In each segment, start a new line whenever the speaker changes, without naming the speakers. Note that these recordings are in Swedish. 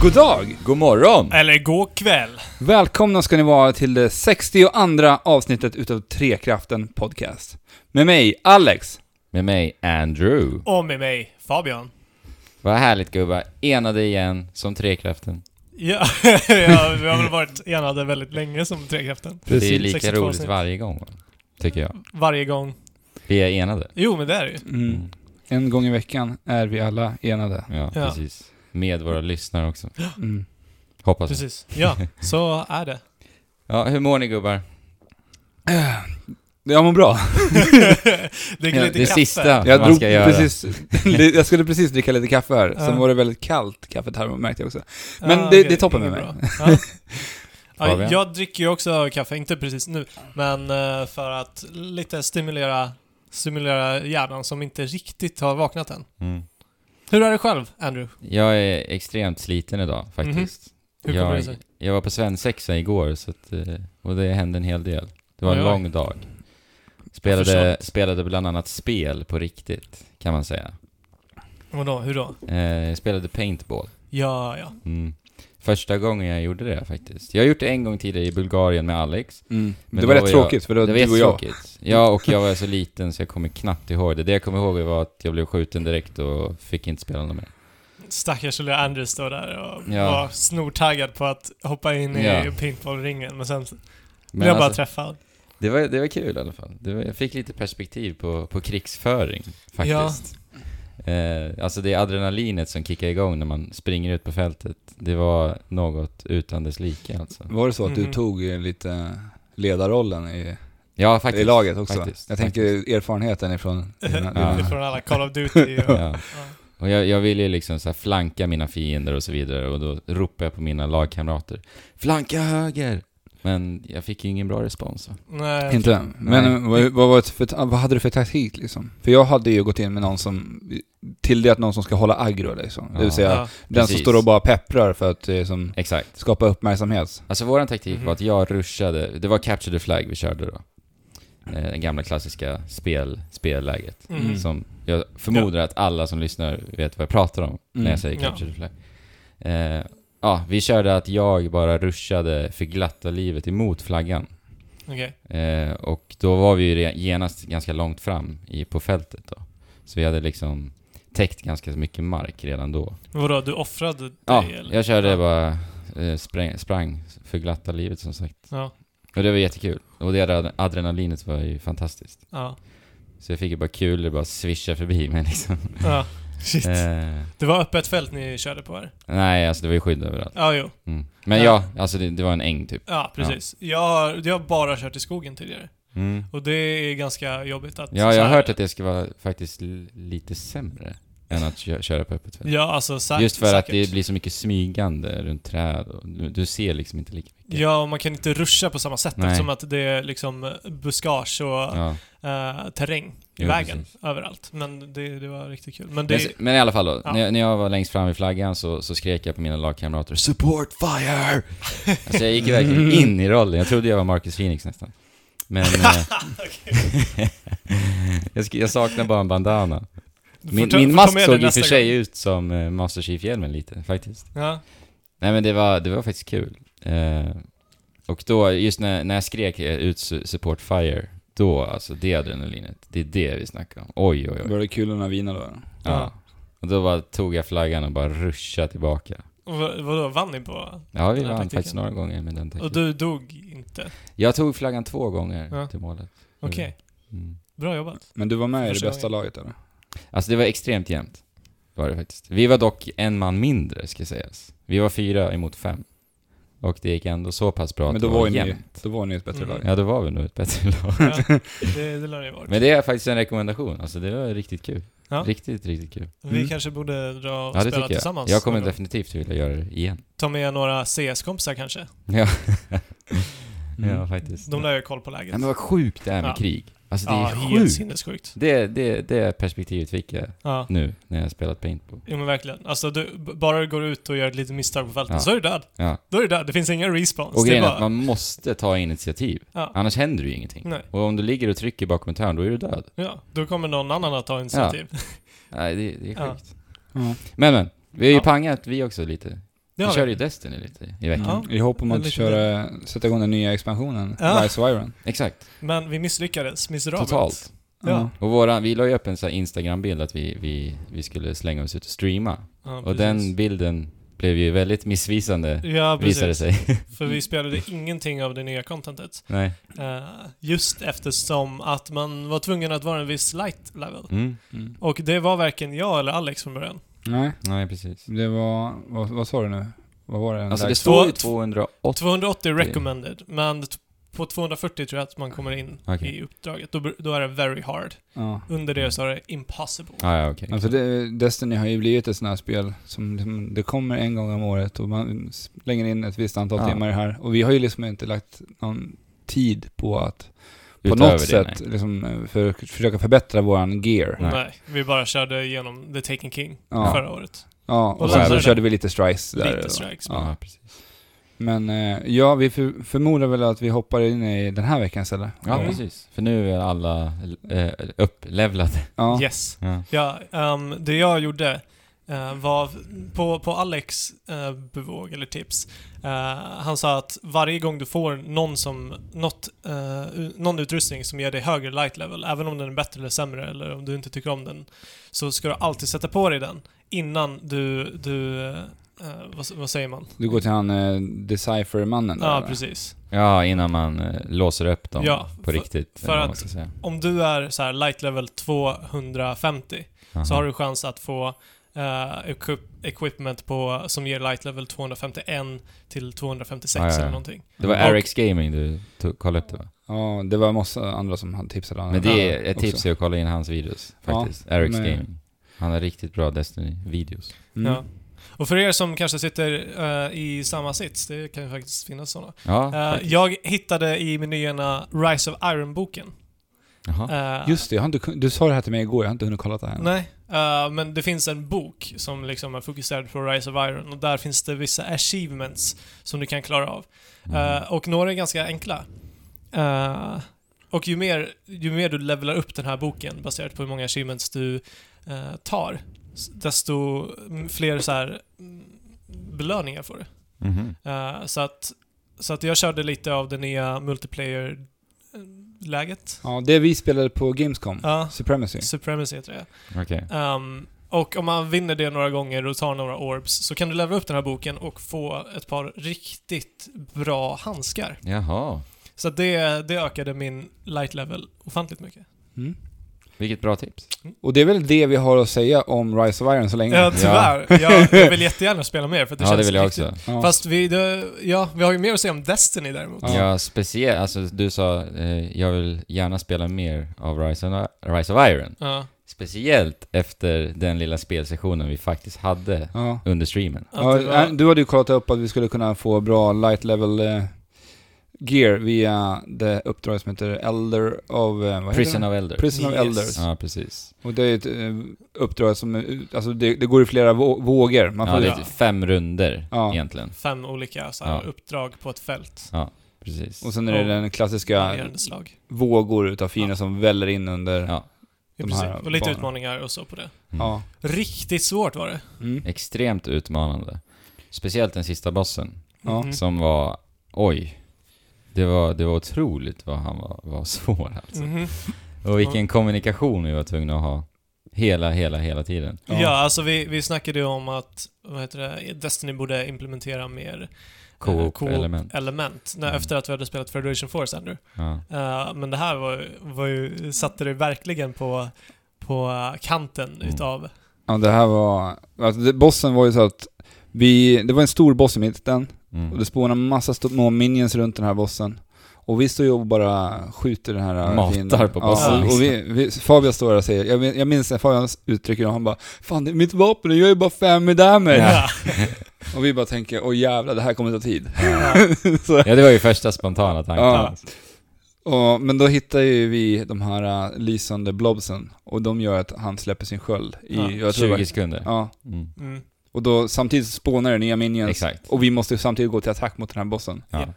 God dag!
God morgon!
Eller god kväll.
Välkomna ska ni vara till det 62 avsnittet utav Trekraften Podcast. Med mig, Alex.
Med mig Andrew.
Och med mig Fabian.
Vad härligt gubbar. Enade igen som trekraften.
Ja, ja, vi har väl varit enade väldigt länge som Trekraften.
Det är ju lika
62
roligt
avsnitt. Mm.
varje gång, va? tycker jag.
Varje gång.
Vi är enade.
Jo, men det är det ju.
Mm. En gång i veckan är vi alla enade.
Ja,
Ja.
precis. Med våra lyssnare också.
Mm.
Hoppas jag.
Precis. Ja, så är det.
Ja, hur mår ni gubbar?
Jag mår bra.
Det
Ja,
är lite
det
kaffe.
sista
Jag,
man
drog
ska göra.
precis, jag skulle precis dricka lite kaffe här, sen
Ja.
var det väldigt kallt kaffet här märkte jag också.
Ja,
Men det-
okej,
det är toppen
inget
med mig.
bra. Ja. Ja,
Fabian?
jag dricker ju också kaffe, inte precis nu, men eh, för att lite stimulera, stimulera hjärnan som inte riktigt har vaknat än.
Mm.
Hur är det själv, Andrew?
Jag är extremt sliten idag faktiskt.
Hur kommer det
jag,
sig?
jag var på svensexa igår så att, eh, och det hände en hel del. Det var en
Oj, oj.
lång dag.
Jag
Spelade,
förstår.
spelade bland annat spel på riktigt, kan man säga.
Vadå, hur då?
Eh, jag spelade paintball.
Ja, ja.
Mm. Första gången jag gjorde det faktiskt. Jag har gjort det en gång tidigare i Bulgarien med Alex.
Mm.
Men
det var
då
rätt
var jag-
tråkigt, för det var
det var
du och jag.
jättetråkigt. Ja, och jag var så liten så jag kommer knappt ihåg det. Det jag kommer ihåg var att jag blev skjuten direkt och fick inte spela något mer.
Stackars lilla Andrew står där och
Ja.
var snortaggad på att hoppa in i
Ja.
paintballringen, men sen blev
Men
jag bara
alltså,
träffad.
det, var, det var kul i alla fall. Det var, jag fick lite perspektiv på, på krigsföring faktiskt. Eh, alltså det är adrenalinet som kickar igång när man springer ut på fältet. Det var något utan dess like alltså.
Var det så att du
Mhm.
tog eh, lite ledarrollen i,
Ja, faktiskt.
i laget också?
faktiskt,
jag tänker erfarenheten ifrån... dina-
Ja.
dina-
Från alla Call of Duty och...
Ja.
Ja.
Och jag, jag ville ju liksom så här flanka mina fiender och så vidare och då ropade jag på mina lagkamrater Flanka höger! Men jag fick ju ingen bra respons. va?
Nej,
Inte än. Men
Nej.
eh, vad, vad, var det för, vad hade du för taktik liksom? För jag hade ju gått in med någon som, till det att någon som ska hålla aggro liksom. Det
Ja.
vill säga,
ja.
den
precis.
som står och bara pepprar för att eh, som,
Exakt.
skapa uppmärksamhet.
Alltså våran taktik
Mhm.
var att jag ruschade, det var capture the flag vi körde då. Eh, Det gamla klassiska spel, spelläget.
Mm.
Som jag förmodar att alla som lyssnar vet vad jag pratar om när jag säger
Mm. Ja.
capture the flag. Eh, ja, vi körde att jag bara ruschade för glatta livet emot flaggan.
Okej.
Eh, och då var vi ju re- genast ganska långt fram i, på fältet då. Så vi hade liksom täckt ganska mycket mark redan då.
Vadå, du offrade dig
Ja,
eller?
jag körde
Ja.
bara, eh, spräng, sprang för glatta livet som sagt.
Ja.
Och det var jättekul. Och det där adrenalinet var ju fantastiskt.
Ja.
Så jag fick ju bara kul, det bara svischa förbi mig liksom.
ja. Shit.
Eh,
Det var öppet fält ni körde på här?
nej, alltså det var ju skydd överallt.
Ja, jo.
Mm. Men ja, alltså det, det var en äng typ.
Ja, precis. Jag, har, jag har bara kört i skogen tidigare.
Mm.
Och det är ganska jobbigt att...
Ja,
så
jag har
här-
hört att det ska vara faktiskt l- lite sämre än att kö- köra på öppet fält.
Ja, alltså sä-
Just för att
säkert.
det blir så mycket smygande runt träd och du, du ser liksom inte lika mycket.
Ja, och man kan inte ruscha på samma sätt
Nej.
eftersom att det är liksom buskage och
Ja.
eh, terräng i
Jo,
vägen
precis.
överallt. Men det, det var riktigt kul. Men det...
Men, s- men i alla fall då,
Ja.
när, jag- när jag var längst fram i flaggan så, så skrek jag på mina lagkamrater 'Support fire!' Alltså jag gick ju verkligen in i rollen, jag trodde jag var Marcus Phoenix nästan. Men... eh, jag, sk- jag saknar bara en bandana.
Du får
Min,
ta-
min
får ta
mask
med
såg
den
i och för
nästa
sig
gång.
ut som eh, Master Chief-hjälmen lite, faktiskt.
Ja.
Nej men det var, det var faktiskt kul. Eh, och då, just när, när jag skrek eh, ut su- support fire, då alltså det adrenalinet, det är det vi snackar om. Oj oj oj.
Var det kulorna vina då?
Ja. Och då bara tog jag flaggan och bara ruschade tillbaka.
Och vad- vadå, vann ni på?
Ja vi
Den här
vann
taktiken.
faktiskt några gånger med den
Och
taktiken.
du dog inte?
Jag tog flaggan två gånger
Ja.
till målet.
Okej,
Mm.
bra jobbat.
Men du var med i det
Första
bästa laget eller?
Alltså det var extremt jämnt. Var det faktiskt. Vi var dock en man mindre ska sägas. Vi var fyra emot fem. Och det gick ändå så pass bra
Men
att
då
det var
var, ni,
jämnt.
då var ni ett bättre
Mm.
lag.
Ja då var vi nog ett bättre lag.
Ja, det, det lär det ju vara.
Men det är faktiskt en rekommendation, alltså det var riktigt kul.
Ja.
Riktigt, riktigt kul.
Vi
Mm.
kanske borde dra och
Ja, det
spela
tycker jag.
tillsammans.
Jag kommer
någon gång.
definitivt vilja göra det igen.
Ta med några CS-kompisar kanske.
Ja,
Mm.
ja faktiskt.
De lär ju koll på läget.
ja, men vad sjukt det är med
Ja.
krig. Alltså det
ja,
är
helt
sjukt.
sinnessjukt.
Det, det, det perspektivet fick jag
Ja.
nu när jag spelat paintball.
Jo men verkligen. Alltså du, b- bara du går ut och gör ett litet misstag på fältet
Ja.
så är du död.
Ja.
Då är du död. Det finns inga respawns.
Och
det
grejen är
bara,
att man måste ta initiativ,
ja,
annars händer det ju ingenting.
Nej.
Och om du ligger och trycker bakom ett hörn, då är du död.
ja, då kommer någon annan att ta initiativ.
Nej, det, det är
Ja.
sjukt.
Ja.
Men men, vi har ju
Ja.
pangat vi också lite.
Det
vi
har
körde
vi.
ju Destiny lite i veckan.
I hopp om
en
att
liten
köra, sätta igång den nya expansionen,
Ja.
Rise of Iron.
Mm.
Exakt,
Men vi misslyckades miserabelt.
totalt.
Ja.
Och våra, vi la ju upp en sån här Instagram-bild att vi, vi, vi skulle slänga oss ut och streama.
Ja,
och
precis.
den bilden blev ju väldigt missvisande,
Ja,
visade det
precis.
sig.
För vi spelade ingenting av det nya contentet.
Nej.
Eh, just eftersom att man var tvungen att vara en viss light level.
Mm.
Mm.
Och det var varken jag eller Alex från början.
Nej,
Nej, precis.
det var, vad, vad sa du nu? Vad var det?
Alltså
Där-
det står ju
Två-
280.
280 recommended, men t- på 240 tror jag att man kommer in
Okej.
i uppdraget. Då, br- då är det very hard.
ja.
Under det så är det impossible.
Ah, ja, okej.
Alltså det, Destiny har ju blivit ett sånt här spel som liksom, det kommer en gång om året och man slänger in ett visst antal
Ja.
timmar i det här. Och vi har ju liksom inte lagt någon tid på att på
Utöver
något
det,
sätt
nej.
liksom, eh, för, försöka förbättra våran gear.
Nej.
Nej. vi bara körde igenom The Taken King
Ja.
förra året.
Ja, och,
Och
sen
sen
så
är det-
körde vi lite strikes där.
Lite strikes.
Ja.
Ja, precis.
Men eh, ja, vi för, förmodar väl att vi hoppar in i den här veckan istället.
Ja,
Mm.
precis. För nu är alla eh, upplevlade.
Ja.
Yes.
Ja.
Ja, ehm, det jag gjorde eh, var på, på Alex eh, bevåg eller tips. eh, han sa att varje gång du får någon, som, något, eh, u- någon utrustning som ger dig högre light level, även om den är bättre eller sämre eller om du inte tycker om den, så ska du alltid sätta på dig den innan du, du eh, vad, vad säger man?
Du går till han eh, Decipher-mannen där,
Ja,
eller?
precis.
ja, innan man eh, låser upp dem
Ja,
på
för-
riktigt.
för
eller vad
att-
man ska säga.
Om du är så här light level 250 så
Aha.
har du chans att få eh, equip- equipment på, som ger light level 251 till 256
Ja, ja, ja.
eller någonting.
Det var
Och-
Erics Gaming du tog, kollade upp det va?
Ja, det var massa andra som hade tipsat honom.
Men det är
Ja,
ett tips
också.
är att kolla in hans videos faktiskt.
Ja,
Erics
men-
Gaming. Han har riktigt bra Destiny-videos.
Mm.
Ja. Och för er som kanske sitter eh, i samma sits, det kan ju faktiskt finnas sådana.
Ja,
Eh,
faktiskt.
jag hittade i menyerna Rise of Iron-boken.
Jaha.
Eh,
Just det, jag har inte, kun- du sa det här till mig igår, jag har inte hunnit kolla det här än.
Nej, eh, men det finns en bok som liksom är fokuserad på Rise of Iron och där finns det vissa achievements som du kan klara av.
Mm.
Eh, och några är ganska enkla. Eh, och ju mer, ju mer du levelar upp den här boken baserat på hur många achievements du eh, tar, s- desto mm, fler så här mm, belöningar får du.
Mhm.
Eh, så, att, så att jag körde lite av det nya multiplayer-läget.
Ja, det vi spelade på Gamescom,
Ja,
Supremacy.
Supremacy heter det.
Okej.
Ehm, och om man vinner det några gånger och tar några orbs så kan du levela upp den här boken och få ett par riktigt bra handskar.
Jaha.
Så att det, det ökade min light level ofantligt mycket.
Mm.
Vilket bra tips.
Och det är väl det vi har att säga om Rise of Iron så länge.
Ja, tyvärr. Jag, jag vill jättegärna spela mer för att det
Ja,
känns
det vill jag
riktigt.
också.
Ja.
Fast vi, det, ja, vi har ju mer att säga om Destiny däremot.
Ja.
Ja, speciellt. Alltså, du sa eh, jag vill gärna spela mer av Rise of, Rise of Iron.
Ja.
Speciellt efter den lilla spelsessionen vi faktiskt hade
ja.
under streamen.
Ja,
Att det var-
Du hade ju kollat upp att vi skulle kunna få bra light level eh, gear via det uppdrag som heter Elder of... eh, Vad heter
Prison
det?
of Elder.
Prison of
Yes.
Elders.
Ja, precis.
Och det är ett eh, uppdrag som... eh, Alltså det, det går i flera vå- vågor. Man
Ja,
får
det
ja,
är fem runder
Ja.
egentligen.
Fem olika så här,
Ja.
uppdrag på ett fält.
Precis.
Och sen är det
Och-
den klassiska
Varierande slag.
vågor utav fiender som väller in under... Ja.
Ja.
Ja,
de
precis.
här
Och lite
banorna.
utmaningar och så på det.
Mm.
Riktigt svårt var det.
Mm.
Extremt utmanande. Speciellt den sista bossen,
Ja.
Mhm.
som var... Oj. Det var, det var otroligt vad han var, var svår alltså.
Mhm.
Mm.
Och vilken kommunikation vi var tvungna att ha. Hela, hela, hela tiden.
Ja.
Ja, alltså vi, vi snackade ju om att vad heter det, Destiny borde implementera mer eh,
Co-op-element.
element när,
Mm.
efter att vi hade spelat Federation Force ännu.
Ja.
Eh, men det här var, var ju, satte det verkligen på, på eh, kanten
Mm.
utav...
Ja, det här var... Alltså, det, bossen var ju så att vi... Det var en stor boss i mitten och
Mm.
det spånade massa sto- små minions runt den här bossen. Och vi står ju och bara skjuter den här...
Matar
fienden.
på
bossen,
Ja,
liksom.
och vi, vi, Fabian står där och säger... Jag, min- jag minns när Fabian uttrycker det och han bara Fan, det är mitt vapen det gör ju bara fem i damage.
Ja.
Och vi bara tänker, åh jävlar, det här kommer ta tid.
ja, det var ju första spontana tanken.
Ja.
alltså.
Och, men då hittar ju vi de här äh, lysande blobsen och de gör att han släpper sin sköld i...
Ja,
jag tror det var-
20 sekunder.
Ja.
Mm.
Mm.
Och då samtidigt spånar det nya minions.
Exakt.
Och vi måste ju samtidigt gå till attack mot den här bossen.
Ja.
Japp.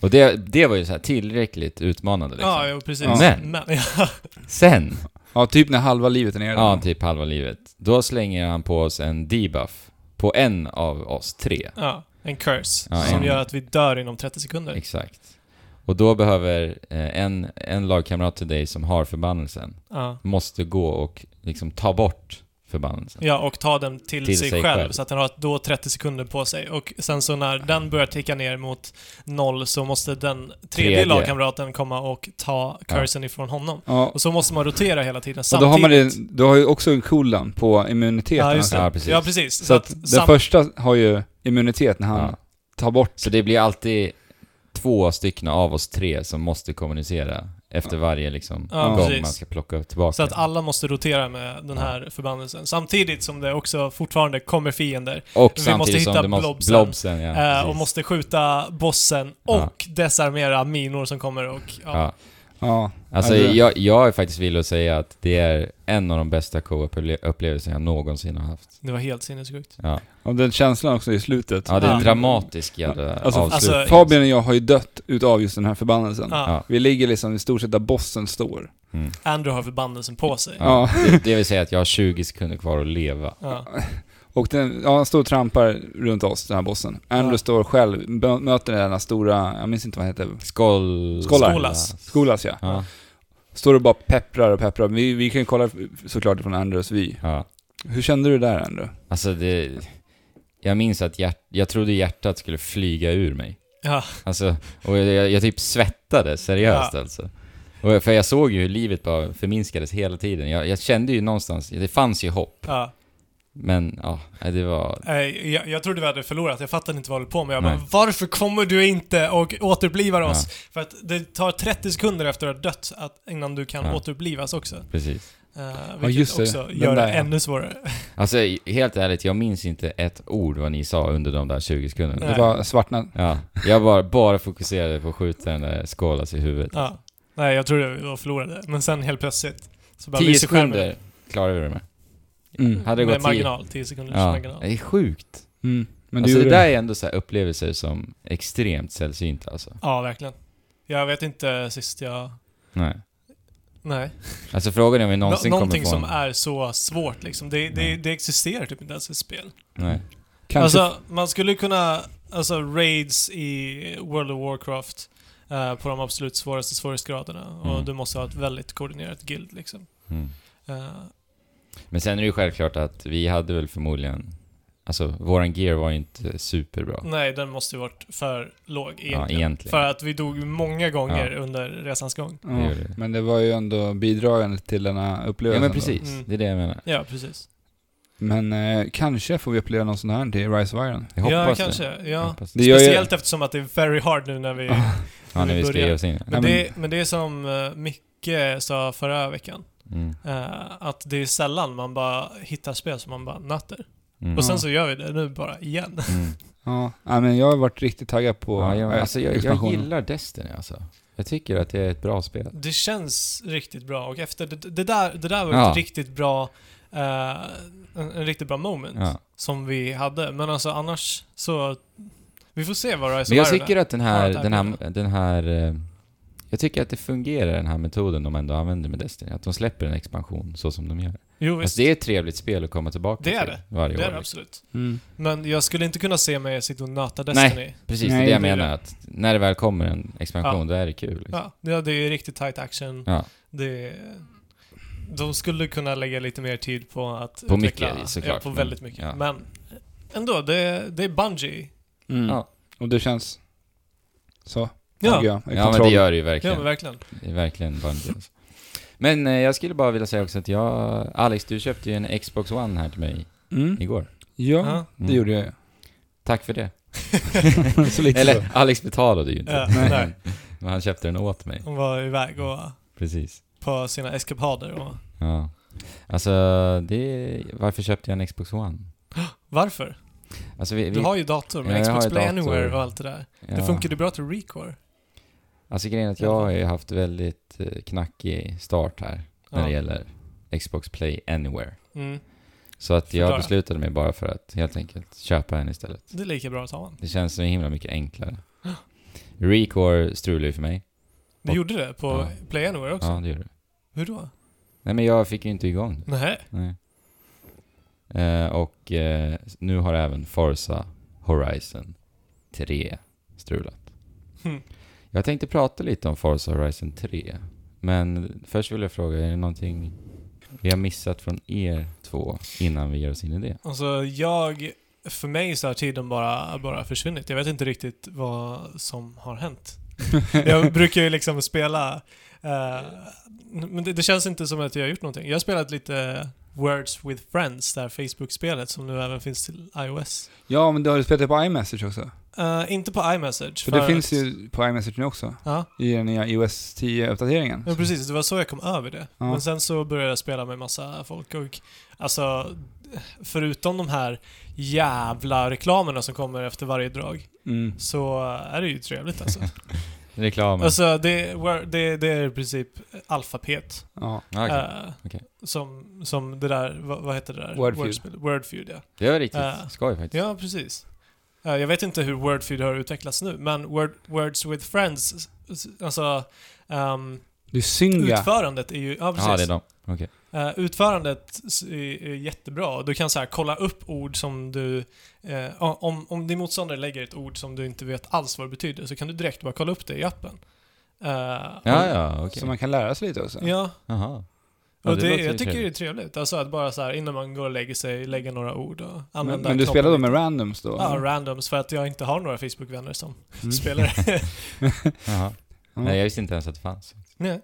Och det, det var ju så här tillräckligt utmanande liksom.
Ja, jo, precis.
Ja.
Men-
ja.
Sen,
Ja, typ när halva livet är nere.
ja typ halva livet, då slänger han på oss en debuff på en av oss tre.
Ja, en curse
Ja,
som
en-
gör att vi dör inom 30 sekunder.
Exakt. Och då behöver eh, en, en lagkamrat till dig som har förbannelsen,
Ja.
måste gå och liksom ta bort förbannelsen.
ja, och ta den till,
Till
sig,
sig
själv,
själv.
så att den har då 30 sekunder på sig. Och sen så när den börjar ticka ner mot noll så måste den tredje,
Tredje.
lagkamraten komma och ta cursen ifrån honom.
Ja,
Och så måste man rotera hela tiden
och då
samtidigt.
har man det, du har ju också en cooldown på immuniteten.
Ja, just
alltså.
det.
Ja, precis.
Ja, precis.
Så att den
sam-
första har ju immunitet när han
Ja.
tar bort
Så det blir alltid två stycken av oss tre som måste kommunicera efter varje liksom,
Ja,
gång
precis.
man ska plocka tillbaka.
Så att alla måste rotera med den här förbannelsen. Samtidigt som det också fortfarande kommer fiender.
och
vi
samtidigt
måste hitta
som du måste,
blobsen.
ja,
eh, och
precis.
måste skjuta bossen och desarmera minor som kommer och... Ja.
ja.
Ja.
Alltså
Ja, det-
jag, jag är faktiskt villig att säga att det är en av de bästa co-upplevelser jag någonsin har haft.
Det var helt sinnessjukt.
Ja,
Och den känslan också i slutet.
ja det är en
Ja.
dramatisk jävla
Alltså,
avslut.
alltså,
Fabian och jag har ju dött utav just den här förbannelsen.
Ja.
Ja.
Vi ligger liksom i stort sett där bossen står.
Mm.
Andrew har förbannelsen på sig. Ja.
Ja, det, det vill säga att jag har 20 sekunder kvar att leva.
Och den, ja, han står och trampar runt oss, den här bossen. Andrew
Ja.
står själv, bö- möter den här stora, jag minns inte vad han heter,
Skål...
Skålar.
Skålas.
Skolas ja.
Ja,
Står och bara pepprar och pepprar. Vi, vi kan ju kolla såklart från Andrews vy.
ja.
Hur kände du där Andrew?
Alltså det... Jag minns att hjärt, jag trodde hjärtat skulle flyga ur mig.
Ja.
Alltså, och jag, jag typ svettades seriöst
Ja.
alltså. Och, för jag såg ju hur livet bara förminskades hela tiden. Jag, jag kände ju någonstans, det fanns ju hopp.
Ja.
Men ja, nej, det var...
Eh, Jag, jag trodde vi hade förlorat, jag fattade inte vad du höll på med. Jag bara,
Nej.
varför kommer du inte och återblivar oss? För att det tar 30 sekunder efter att du har dött att, innan du kan
Ja.
återblivas också.
Precis.
Uh, vilket
just det.
också
Den
gör det
där, ja.
ännu svårare.
Alltså helt ärligt, jag minns inte ett ord vad ni sa under de där 20 sekunderna.
Det
Nej.
var Mm. svartnat.
Ja, jag bara, bara fokuserade på att skjuta den där skålas i huvudet.
Ja. Nej, jag trodde vi var förlorade. Men sen helt plötsligt så bara
10
lyser skärmen upp.
sekunder klarade vi det med.
Mm.
Hade
med
det gått tio-
marginal, 10 sekunders
Ja,
marginal.
det är sjukt.
Mm. Men
alltså
gjorde
det där är ändå så här upplevelser som är extremt sällsynta alltså.
Ja, verkligen. Jag vet inte sist jag...
Nej.
Nej.
Alltså frågan är om vi
Nå-
någonsin kommer
någonting
få
som
en-
är så svårt liksom. Det, det,
Nej.
det existerar typ inte ens i spel.
Nej.
Kanske,
Alltså, man skulle kunna... Alltså, raids i World of Warcraft eh, på de absolut svåraste svårighetsgraderna. Och
Mm.
du måste ha ett väldigt koordinerat guild liksom.
Mm.
Eh,
Men sen är det ju självklart att vi hade väl förmodligen... Alltså våran gear var ju inte superbra.
Nej, den måste ju varit för låg egentligen.
Ja, egentligen.
För att vi dog många gånger under resans gång.
ja,
det gjorde det.
men det var ju ändå bidragande till den här
Ja
upplevelsen.
men
då.
precis,
Mm.
det är det jag menar.
Ja, precis.
Men eh, kanske får vi uppleva något sånt här till Rise of Iron.
Jag hoppas
ja, kanske.
det. Jag
Ja.
Hoppas
Det
det.
gör ju-
Speciellt eftersom att det är very hard nu när vi...
Ja, när vi ska
börjar.
ge oss in.
Nej,
men,
men-
det, men det är som eh, Micke sa förra veckan.
Mm.
eh, Att det är sällan man bara hittar spel som man bara nöter.
Mm.
Och
Ja.
sen så gör vi det nu bara igen.
Mm.
Ja, nej, men jag har varit riktigt taggad på
Ja, jag,
eh,
alltså jag, jag
expansionen.
gillar Destiny alltså. Jag tycker att det är ett bra spel.
Det känns riktigt bra och efter det, det, där, det där var
Ja.
ett riktigt bra... eh, en, en riktigt bra moment.
Ja.
som vi hade. Men alltså annars så... Vi får se vad Rise
Men
of
jag
Iron
tycker
är.
att den här,
Ja,
den
tack.
här, den här... eh, Jag tycker att det fungerar den här metoden de ändå använder med Destiny. Att de släpper en expansion så som de gör.
Jo, visst.
Alltså det är ett trevligt spel att komma tillbaka
Det är
till varje
det är
år.
det
liksom.
absolut.
Mm.
Men jag skulle inte kunna se mig sitta och nöta
Nej.
Destiny. Nej.
Precis,
Nej,
det är det
det
jag
är
menar. Att när det väl kommer en expansion, då är det kul. Liksom.
Ja, det, det är riktigt tight action.
Ja.
Det är, de skulle kunna lägga lite mer tid på att
På
utveckla.
mycket, såklart,
ja, på
men-
väldigt mycket.
ja.
Men ändå, det, det är Bungie.
Mm.
Ja.
Och det känns så,
Ja,
tycker jag. I
Ja, men det
kontroll.
gör det ju
ja
verkligen.
men verkligen.
Det är verkligen Bungie alltså. Men eh, jag skulle bara vilja säga också att jag... Alex, du köpte ju en Xbox One här till mig
Mm.
igår.
Ja,
Ja.
det gjorde jag ju.
Tack för det.
så lite så.
Eller Alex betalade ju inte.
Ja, Eh, nej.
Men han köpte den åt mig.
Hon var iväg och
Precis.
på sina eskapader och...
Ja. Alltså, det... Varför köpte jag en Xbox One?
Varför?
Alltså, vi, vi,
Du har ju dator,
Ja,
men
jag har
Xbox
ju
Play
dator.
Anywhere och allt det där.
ja.
Det funkade bra till Recore.
Alltså grejen är att jag har ju haft väldigt eh, knackig start här när det gäller Xbox Play Anywhere.
Mm.
Så att jag
Förklara.
beslutade mig bara för att helt enkelt köpa en istället.
Det är lika bra att ha en.
Det känns så himla mycket enklare. Recore strulade ju för mig.
Du
Och-
gjorde det på
Ja.
Play Anywhere också?
Ja, det gjorde det.
Hur då?
Nej men jag fick ju inte igång det.
Nej.
Nej. Eh, och eh, nu har även Forza Horizon 3 strulat.
Hm.
Hmm.
Jag tänkte prata lite om Forza Horizon 3. Men först vill jag fråga, är det någonting vi har missat från er två innan vi ger oss in i det?
Alltså jag, för mig så har tiden bara, bara försvunnit. Jag vet inte riktigt vad som har hänt. jag brukar ju liksom spela, eh, men det, det känns inte som att jag har gjort någonting. Jag har spelat lite Words with Friends, det här Facebook-spelet som nu även finns till iOS.
Ja, men du har ju spelat det på iMessage också.
Eh, inte på iMessage.
För, det
att-
finns ju på iMessage nu också.
Ja,
I den nya iOS 10-uppdateringen.
ja, precis. Det var så jag kom över det.
Ja.
Men sen så började jag spela med massa folk och alltså, förutom de här jävla reklamerna som kommer efter varje drag
Mm.
så är det ju trevligt alltså.
Reklamen?
Alltså det, where- det, det är i princip alfabet.
Ja.
Ah, okej.
eh,
okej.
som, som det där, vad, vad heter det där?
Wordfeud.
Wordspelet- Wordfeud ja.
Det var riktigt
eh,
skoj faktiskt.
Ja, precis. Eh, jag vet inte hur Wordfeud har utvecklats nu, men Word, Words with Friends, s- alltså ehm,
Det är Synga.
utförandet är ju, ja precis.
Jaha, det är de. Okej.
Eh, utförandet s- är, är jättebra. Du kan så här, kolla upp ord som du... eh, om, om din motståndare lägger ett ord som du inte vet alls vad det betyder så kan du direkt bara kolla upp det i appen. Eh,
Ja, ja, okej.
Så man kan lära sig lite också.
Ja,
Jaha. Ja,
och
det
det,
låter ju
jag tycker det är
trevligt.
trevligt. Alltså att bara så här, innan man går och lägger sig, lägga några ord och
Men,
använda
men du
knoppen
spelar då med
lite.
randoms då?
Ja, randoms, för att jag inte har några Facebook-vänner som
Mm.
spelar.
Jaha.
Ja.
Nej, jag visste inte ens att det fanns.
Nej.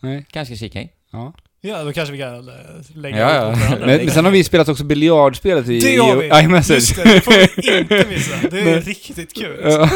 Nej.
Kanske kika in.
Ja.
Ja, då kanske vi kan eh, lägga
Ja,
ut
ja.
mot varandra.
Men, men sen har vi spelat också biljardspelet i,
Det
i
har vi! Just
iMessage.
det, det får vi inte missa. Det är
Nej.
riktigt kul.
Ja.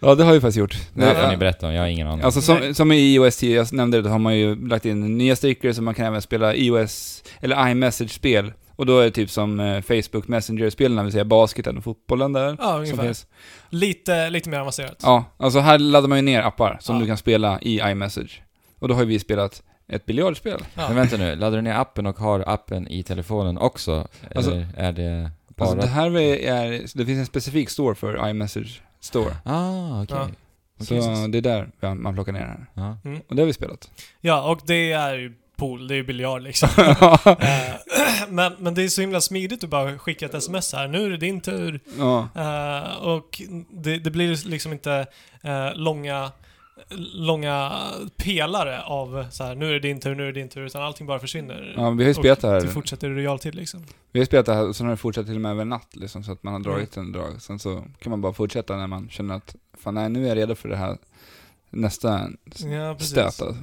ja, det har vi faktiskt gjort.
Det här får
Ja.
ni berätta om, jag har ingen aning.
Alltså
Nej.
som, som i iOS 10, jag nämnde det, har man ju lagt in nya stickers så man kan även spela iOS, eller iMessage-spel. Och då är det typ som eh, Facebook Messenger-spelen, det vill säga basketen och fotbollen där.
Ja,
som
ungefär.
finns.
Lite, lite mer avancerat.
Ja, alltså här laddar man ju ner appar som
Ja.
du kan spela i iMessage. Och då har ju vi spelat ett biljardspel.
Ja.
Men vänta nu, laddar du ner appen och har appen i telefonen också?
Alltså-
eller är det bara...
Alltså det här är, det finns en specifik store för iMessage Store.
Ah, okej.
Ja.
så
Okej, så-
det är där man- man plockar ner det här.
ja.
Och det har vi spelat.
Ja, och det är ju pool, det är ju biljard liksom. Eh, men, men det är så himla smidigt att bara skicka ett sms här, nu är det din tur.
ja.
Eh, och det, det blir liksom inte eh, långa, långa pelare av så här, nu är det din tur, nu är det din tur, utan allting bara försvinner.
ja, vi har ju spelat det
Det
här.
fortsätter i realtid liksom.
Vi har spelat det här och sen har det fortsatt till och med över en natt liksom, så att man har
Mm.
dragit en drag. Sen så kan man bara fortsätta när man känner att fan nej, nu är jag redo för det här nästa
Ja, precis.
stöt alltså.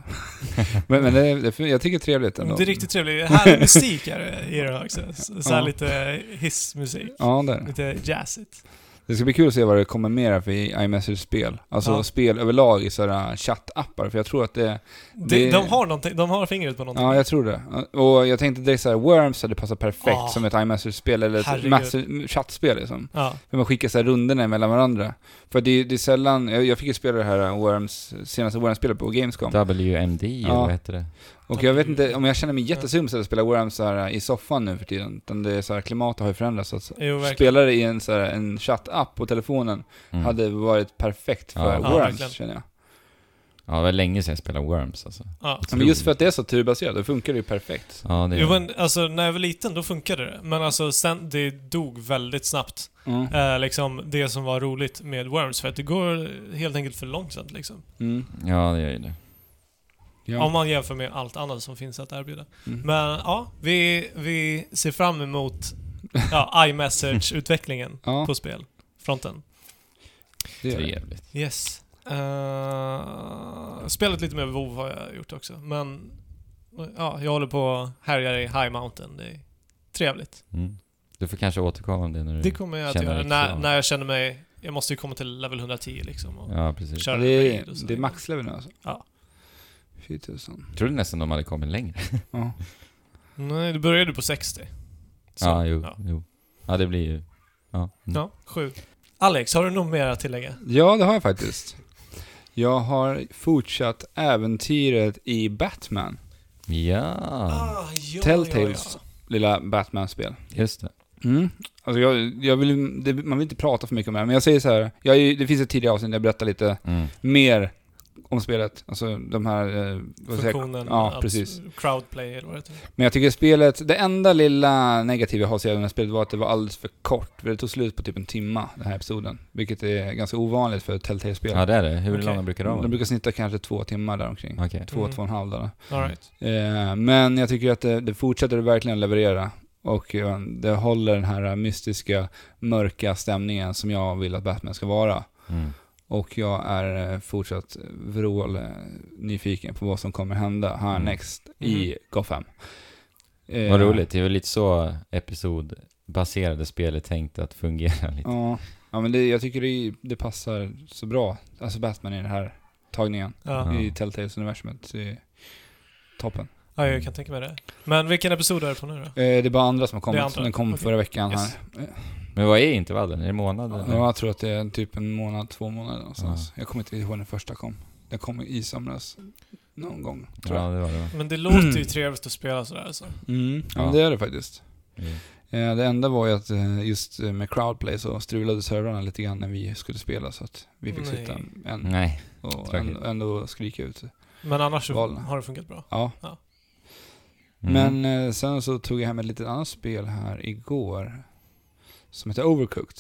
Men, men det, det, jag tycker det är trevligt ändå.
Men Det är riktigt trevligt. Härlig musik är det i den också. Så så här
Ja.
lite hissmusik.
Ja, det är det.
Lite jazzigt.
Det ska bli kul att se vad det kommer mer för i iMessage-spel. Alltså
Ja.
spel överlag i sådana chattappar, för jag tror att det...
De,
Det-
de, har någonting- de har fingret på någonting.
Ja, jag tror det. Och jag tänkte direkt såhär, Worms hade passat perfekt
Ah.
som ett iMessage-spel eller ett
Herregud.
massive- chattspel liksom.
Ja.
Hur man skickar så här rundorna mellan varandra. För det, är- det är sällan, jag, jag fick ju spela det här Worms, senaste Worms-spelet på Gamescom.
WMD, eller
Ja.
vad heter det?
Och jag vet
Mm.
inte om jag känner mig jättesum så att spela Worms så här i soffan nu för tiden. Utan det är så här, klimatet har ju förändrats. Så att
Jo, verkligen.
spela det i en, så här, en chattapp på telefonen
Mm.
hade varit perfekt för
Ja.
Ja,
Worms
verkligen.
känner jag.
Ja, det var länge sedan jag spelade Worms alltså.
Ja.
Ja, Men just för att det är så turbaserat, då funkar det ju perfekt.
Ja, det
Jo, men alltså när jag var liten då funkade det. Men alltså sen, det dog väldigt snabbt.
Mm.
Eh, liksom det som var roligt med Worms, för att det går helt enkelt för långsamt liksom.
Mm.
Ja, det gör ju det.
Ja.
Om man jämför med allt annat som finns att erbjuda.
Mm.
Men ja, vi, vi ser fram emot ja, iMessage-utvecklingen
Ja,
på spelfronten.
det gör det.
Trevligt.
Yes. Eh, spelat lite mer WoW har jag gjort också, men ja, jag håller på och härjar i High Mountain. Det är trevligt.
Mm. Du får kanske återkomma om det när du...
Det kommer jag att
Mm. känner
göra
dig
när,
klar.
när jag känner mig... Jag måste ju komma till level 110 liksom och
Ja, precis.
Ja,
köra
det är,
raid och så.
det är maxlevel nu alltså.
Ja.
Fy tusan.
Jag trodde nästan de hade kommit längre.
Ja.
Nej, då börjar du på 60. Så,
Ja, jo, Mm.
Ja,
jo. Ja, det blir ju... Ja. Mm.
ja sju. Alex, har du något mer att tillägga?
ja, det har jag faktiskt. Jag har fortsatt äventyret i Batman.
ja,
Ah, ja,
Telltales lilla Batman-spel.
just det.
Mm. Alltså jag, jag vill, det, man vill inte prata för mycket om det här, men jag säger så här. Jag, är ju- det finns ett tidigare avsnitt där jag berättar lite
Mm.
mer om spelet. Alltså de här... eh, vad säger jag?
Funktionen,
Ja,
abs-
precis.
crowdplay eller vad det heter.
Men jag tycker spelet, det enda lilla negativa jag har att säga om det här spelet var att det var alldeles för kort. För Det tog slut på typ en timma, den här episoden. Vilket är ganska ovanligt för ett Telltale-spel.
Ja, det är det. Hur
Okej.
långa brukar de
de
vara?
brukar snitta kanske två timmar där omkring.
Okej.
Två,
Mm.
två och en halv där.
All right.
Eh, men jag tycker att det, det fortsätter att verkligen leverera. Och eh, det håller den här mystiska, mörka stämningen som jag vill att Batman ska vara.
Mm.
Och jag är eh, fortsatt vrål eh, nyfiken på vad som kommer hända härnäxt i Gotham. Eh,
Mm. Vad roligt. Det är väl lite så episodbaserade spel är tänkt att fungera lite.
Ja, ja men det, jag tycker det, det passar så bra. Alltså Batman i den här tagningen.
Ja.
Mm.
I Telltales universumet. Det är Toppen.
ja, jag kan tänka mig det. Men vilken episod är det på nu då?
Eh, det är bara andra som har
Det är
kommit.
andra.
Den kom
Okej.
förra veckan
Yes.
här. Eh,
Men vad är intervallen? Är det månader? eller?
Ja, jag tror att det är typ en månad, två månader någonstans. Jag kommer inte ihåg när den första kom. Den kom i somras. Någon gång, tror
ja,
jag.
det var det.
Men det låter ju trevligt att spela sådär alltså.
Mm, ja.
Ja.
men det är det faktiskt.
Mm.
Eh, Det enda var ju att eh, just eh, med Crowdplay så strulade servrarna lite grann när vi skulle spela så att vi fick
Nej.
sitta en
Nej.
och
tråkigt.
ändå, ändå skrika ut.
Men annars så
Valen.
har det funkat bra.
Ja.
Mm.
Men eh, sen så tog jag hem ett litet annat spel här igår som heter Overcooked.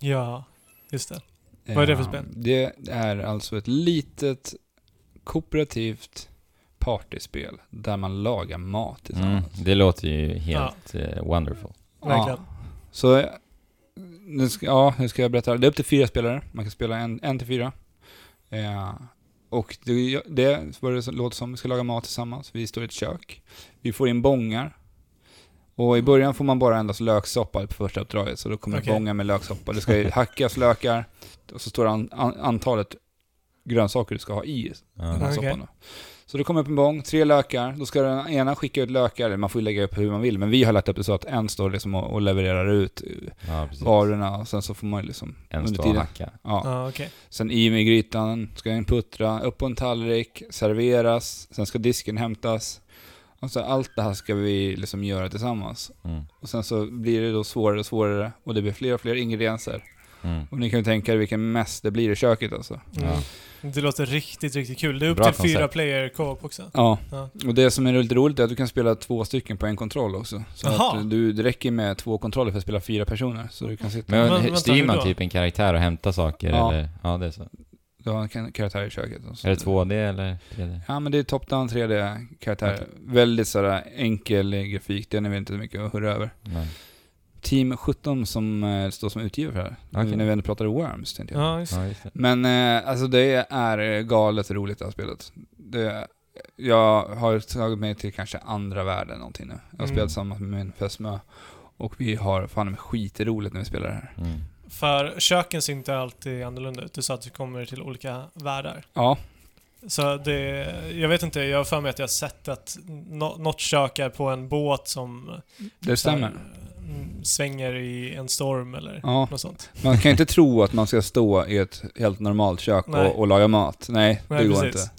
Ja, just det. Vad är det för
Eh,
spel?
Det är alltså ett litet kooperativt partyspel där man lagar mat
Mm.
tillsammans.
Det låter ju helt eh, wonderful.
Mm. Verkligen.
Så, eh, nu ska, ja, nu ska jag berätta. Det är upp till fyra spelare. Man kan spela en, en till fyra. Eh, och det, det är vad det låter som, vi ska laga mat tillsammans. Vi står i ett kök. Vi får in bångar. Och i början får man bara endast löksoppa på första uppdraget. Så då kommer
Okej.
det bångar med löksoppa. Det ska ju hackas lökar. Och så står det an, an, antalet grönsaker du ska ha i den här
Ja.
Okej.
soppan. Då. Så det kommer upp en bång, tre lökar. Då ska den ena skicka ut lökar, eller man får ju lägga upp hur man vill, men vi har lagt upp det så att en står liksom och, och levererar ut eh,
ja, precis.
varorna och sen så får man liksom...
En
under
står och
tiden.
hacka.
Ja.
Ja, okej.
Sen i med grytan, ska den puttra, upp på en tallrik, serveras, sen ska disken hämtas. Alltså allt det här ska vi liksom göra tillsammans.
Mm.
Och sen så blir det då svårare och svårare och det blir fler och fler ingredienser.
Mm.
Och ni kan ju tänka er vilken mess det blir i köket alltså.
Mm. Det låter riktigt, riktigt kul. Det är upp
Bra
till
koncept.
fyra player co-op också.
Ja.
Ja.
Och det som är lite roligt är att du kan spela två stycken på en kontroll också. Så
Jaha.
att du, det räcker med två kontroller för att spela fyra personer. Så du kan sitta...
Men,
Men
hur-
vänta,
styr
hur
man
då?
typ en karaktär och hämtar saker
Ja.
eller? Ja, det är så.
Du har en kan- karaktär i köket. Och så.
Är det 2D eller 3D?
Ja men det är top-down 3D-karaktär. Väldigt sådär enkel grafik, den är väl inte så mycket att hurra över.
Nej.
Team 17 som eh, står som utgivare för det här.
Okej.
När vi ändå pratade Worms tänkte jag.
Ja, just det.
Ja, just det.
Men eh, alltså det är eh, galet roligt det här spelet. Det, jag har tagit mig till kanske andra världen någonting nu. Jag har
Mm.
spelat tillsammans med min fästmö. Och vi har fan med skitroligt när vi spelar det här.
Mm.
För köken ser inte alltid annorlunda ut. Det är så att vi kommer till olika världar.
Ja,
Så det, jag vet inte, jag har för mig att jag har sett att nå- något kök är på en båt som...
det stämmer.
mm, svänger i en storm eller
Ja,
något sånt.
man kan ju inte tro att man ska stå i ett helt normalt kök
Nej.
och, och laga mat. Nej, det
Nej,
går
precis.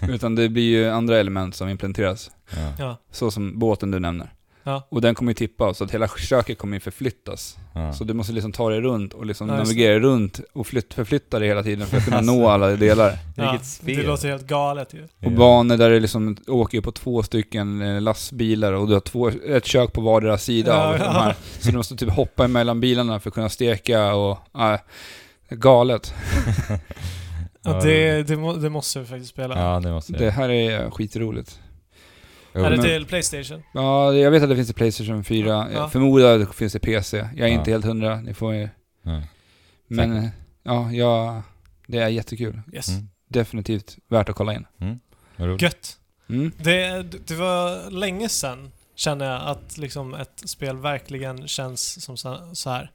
inte. Utan det blir ju andra element som implementeras.
Ja.
Ja.
Så som båten du nämner.
Ja.
Och den kommer ju tippa, så att hela köket kommer ju förflyttas.
Ja.
Så du måste liksom ta dig runt och liksom
Ja, just det.
navigera runt och flytt, förflytta dig hela tiden för att kunna nå alla delar.
Ja,
Vilket spel.
det låter helt galet ju.
Och
Ja.
banor där det liksom åker på två stycken eh, lastbilar och du har två, ett kök på vardera sida
Ja,
av de
ja.
här. Så du måste typ hoppa emellan bilarna för att kunna steka och... Äh, galet.
Ja,
Ja,
det, det, må, det måste vi faktiskt spela.
Ja, det måste
Det här är skitroligt.
Jo,
Är det
men-
till Playstation?
Ja, jag vet att det finns i Playstation 4.
Ja.
Jag förmodar att det finns i PC. Jag är
Ja.
inte helt hundra, ni får ju...
Nej.
Men eh, ja, ja, det är jättekul.
Yes.
Mm.
Definitivt värt att kolla in.
Vad roligt.
Gött.
Mm.
Det, det var länge sedan, känner jag, att liksom ett spel verkligen känns som så så här.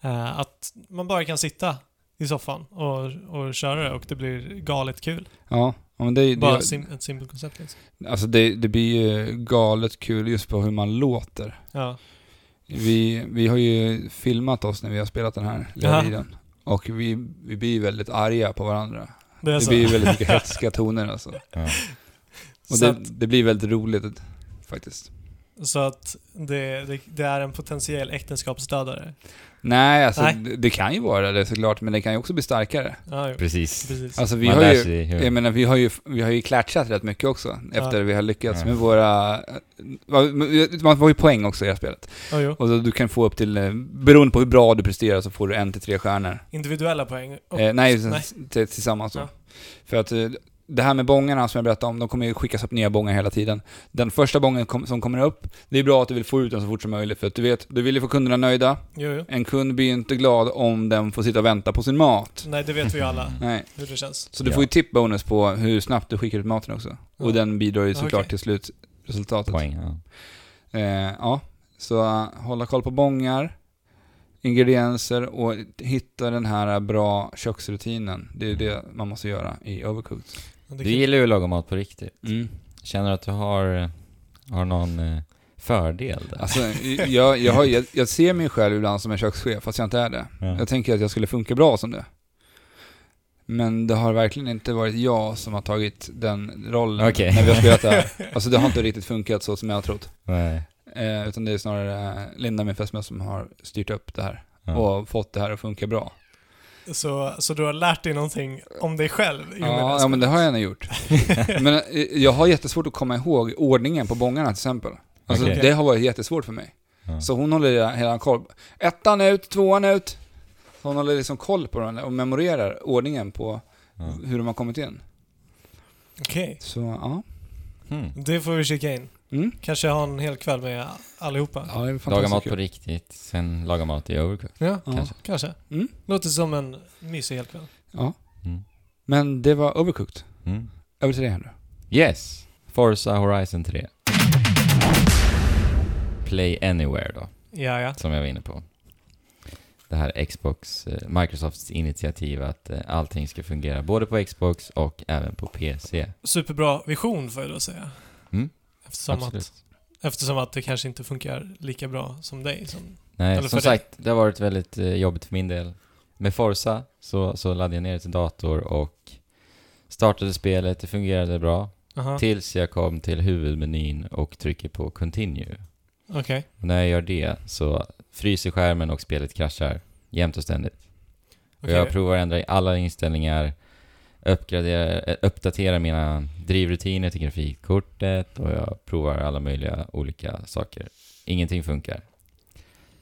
Eh, att man bara kan sitta i soffan och, och köra det och det blir galet kul.
Ja, ja, men det,
Bara
det,
sim, ett simpelt koncept liksom.
alltså det, det blir ju galet kul just på hur man låter.
Ja.
Vi, vi har ju filmat oss när vi har spelat den här lilla
Jaha.
videon. Och vi, vi blir ju väldigt arga på varandra.
Det är
Det
så.
blir ju väldigt mycket hätska toner alltså.
Ja.
Och
så
det,
att,
det blir väldigt roligt faktiskt.
Så att det, det, det är en potentiell äktenskapsdödare.
Nej, alltså
Nej.
Det, det kan ju vara det såklart, men det kan ju också bli starkare.
Ja, jo.
Precis.
Precis.
Alltså vi
Man
har
lär
ju,
sig hur-
jag menar vi har ju, vi har ju klatschat rätt mycket också, efter
Ja.
vi har lyckats
Ja.
med våra... eh, Man får ju poäng också i det här spelet.
Ja, jo.
Och då, du kan få upp till, eh, beroende på hur bra du presterar, så får du en till tre stjärnor.
Individuella poäng. Och,
Eh, nej,
nej.
t- tillsammans då.
Ja.
För att eh, det här med bångarna som jag berättade om, de kommer ju skickas upp nya bångar hela tiden. Den första bången kom, som kommer upp, det är bra att du vill få ut den så fort som möjligt, för att du vet, du vill ju få kunderna nöjda.
Jo, jo.
En kund blir ju inte glad om den får sitta och vänta på sin mat.
Nej, det vet vi ju alla
Nej.
hur det känns.
Så du
Ja.
får ju tip-bonus på hur snabbt du skickar ut maten också. Och
Ja.
den bidrar ju
Ja,
såklart
okej.
till slutresultatet.
Poäng, ja.
Eh, ja, så eh, hålla koll på bångar, ingredienser och hitta den här eh, bra köksrutinen. Det är det man måste göra i Overcooked.
Men det
Du
kan-
gillar ju att laga mat på riktigt.
Mm.
Känner du att du har, har någon eh, fördel där?
Alltså, jag, jag, har, jag, jag ser mig själv ibland som en kökschef, fast jag inte är det.
Ja.
Jag tänker att jag skulle funka bra som det. Men det har verkligen inte varit jag som har tagit den rollen
Okej.
när vi har spelat det här. Alltså det har inte riktigt funkat så som jag har trott.
Nej.
Eh, utan det är snarare eh, Linda, min fästmö, som har styrt upp det här.
Ja.
Och fått det här att funka bra.
Så, så du har lärt dig någonting om dig själv? i och med det
Ja,
alltså-
här
ja, men det har jag nog gjort. men eh, jag har jättesvårt att komma ihåg ordningen på bångarna till exempel. Alltså
Okej.
det har varit jättesvårt för mig.
Ja.
Så hon håller hela- hela koll. Ettan ut, tvåan ut. Så hon håller liksom koll på den och memorerar ordningen på
Ja.
hur de har kommit in.
spelet. Okej.
Så ja.
Hmm.
Det får vi kika in.
Mm.
Kanske ha en hel kväll med allihopa.
Ja, det är
Laga mat
fantastiskt
på
kul.
riktigt, sen laga mat i Overcook.
Ja,
Ja.
kanske.
kanske.
Mm.
Låter som en mysig hel kväll.
ja.
Mm.
Men det var overcooked.
Mm.
Över till dig Henry.
Yes! Forza Horizon 3. Play Anywhere då,
Ja, ja.
som jag var inne på. Det här Xbox, eh, Microsofts initiativ att eh, allting ska fungera både på Xbox och även på PC.
Superbra vision får jag då säga.
Mm.
Eftersom, att,
Absolut.
eftersom att det kanske inte funkar lika bra som dig. Som,
Nej,
Eller
som
för dig.
sagt, det har varit väldigt eh, jobbigt för min del. Med Forza så, så laddade jag ner det till dator och startade spelet, det fungerade bra.
aha,
Tills jag kom till huvudmenyn och trycker på Continue.
okej.
Och när jag gör det så fryser skärmen och spelet kraschar jämt och ständigt. Och
Okej.
Jag provar att ändra i alla inställningar, uppgradera, eh, uppdatera mina drivrutiner till grafikkortet och jag provar alla möjliga olika saker. Ingenting funkar.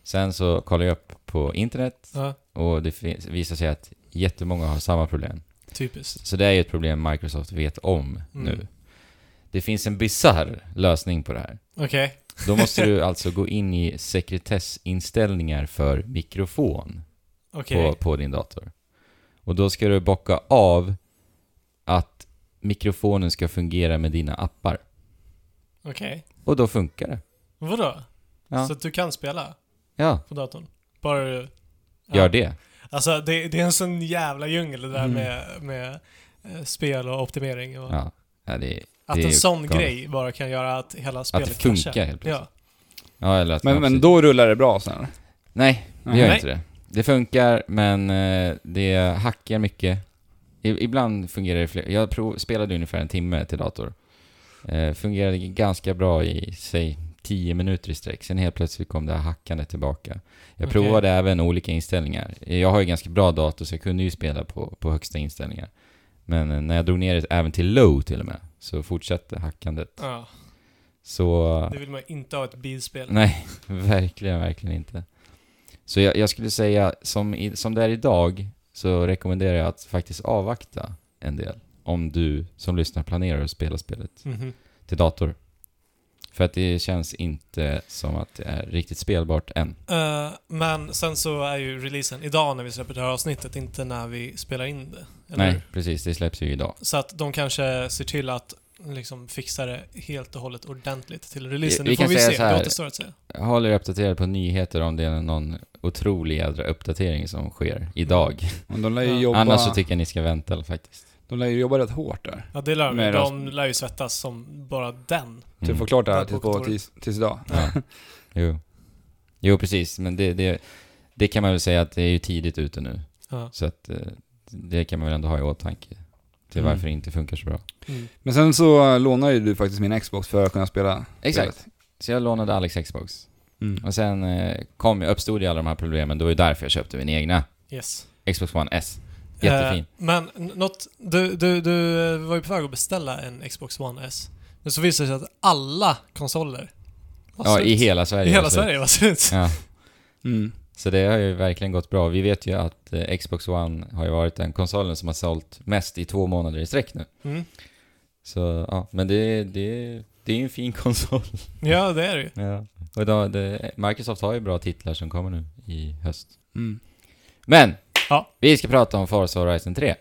Sen så kollar jag upp på internet
Ja,
och det finns- visar sig att jättemånga har samma problem.
typiskt.
Så det är ju ett problem Microsoft vet om
Mm.
nu. Det finns en bizarr lösning på det här.
Okej.
Då måste du alltså gå in i sekretessinställningar för mikrofon
Okej.
på, på din dator. Och då ska du bocka av att mikrofonen ska fungera med dina appar.
Okej.
Och då funkar det.
Vadå?
Ja,
Så att du kan spela
ja
på datorn? Bara du... Ja.
gör det.
Alltså det, det är en sån jävla djungel det där
Mm.
med, med eh, spel och optimering. Och
Ja. Ja, det.
att
det är
en
ju
sån
galet.
grej bara kan göra att hela
Att
spelet
det funkar liksom.
kraschar.
helt plötsligt.
Ja.
Ja, eller att ja,
Men, men
precis.
då rullar det bra sen?
Nej, det gör
Nej.
inte det. Det funkar, men eh, det hackar mycket. I, ibland fungerar det fler. Jag prov, spelade ungefär en timme till dator. Eh, fungerade ganska bra i, säg, 10 minuter i sträck. Sen helt plötsligt kom det här hackandet tillbaka. Jag
Okej.
provade även olika inställningar. Jag har ju ganska bra dator, så jag kunde ju spela på, på högsta inställningar. Men eh, när jag drog ner det även till low till och med, så fortsatte hackandet.
ja.
Så...
Det vill man inte ha ett bilspel.
Nej, verkligen, verkligen inte. Så jag, jag skulle säga, som, i, som det är idag, så rekommenderar jag att faktiskt avvakta en del. Om du som lyssnar planerar att spela spelet
Mhm.
till dator. För att det känns inte som att det är riktigt spelbart än.
Eh, men sen så är ju releasen idag när vi släpper det här avsnittet, inte när vi spelar in det. Eller
Nej,
hur?
precis. Det släpps ju idag.
Så att de kanske ser till att liksom fixa det helt och hållet ordentligt till releasen.
Vi-
det
vi
får
kan
vi
säga
se,
så här.
det återstår att se.
Jag håller er uppdaterad på nyheter om det är någon otrolig jädra uppdatering som sker idag.
Men de lär ju
Ja.
jobba,
Annars så tycker jag ni ska vänta faktiskt.
de lär ju jobba rätt hårt där.
Ja, det lär de.
Med
De lär ju svettas som bara den.
Till att
Mm.
få klart det här
Ja,
till
på
på
kontoret.
tis, tills idag.
Ja. Jo. jo, precis. Men det, det, det kan man väl säga att det är ju tidigt ute nu.
Ja.
Så att eh, det kan man väl ändå ha i åtanke. Till
Mm.
varför det inte funkar så bra.
Mm.
Men sen så lånar ju du faktiskt min Xbox för att kunna spela
Exakt.
spelet.
Så jag lånade Alex Xbox.
Mm.
Och sen eh, kom jag, uppstod ju alla de här problemen, det var ju därför jag köpte min egna
Yes.
Xbox One S. Jättefin.
Eh, men n- något, du, du, du eh, var ju på väg att beställa en Xbox One S. Men så visade det sig att alla konsoler var
ja,
slut.
i hela Sverige.
I hela
alltså.
Sverige var slut.
Ja.
Mm.
Så det har ju verkligen gått bra. Vi vet ju att eh, Xbox One har ju varit den konsolen som har sålt mest i två månader i sträck nu.
Mm.
Så ja, men det, det, det är ju en fin konsol.
Ja, det är det ju.
Ja. Och då, det, Microsoft har ju bra titlar som kommer nu i höst.
Mm.
Men!
Ja.
Vi ska prata om Forza Horizon 3.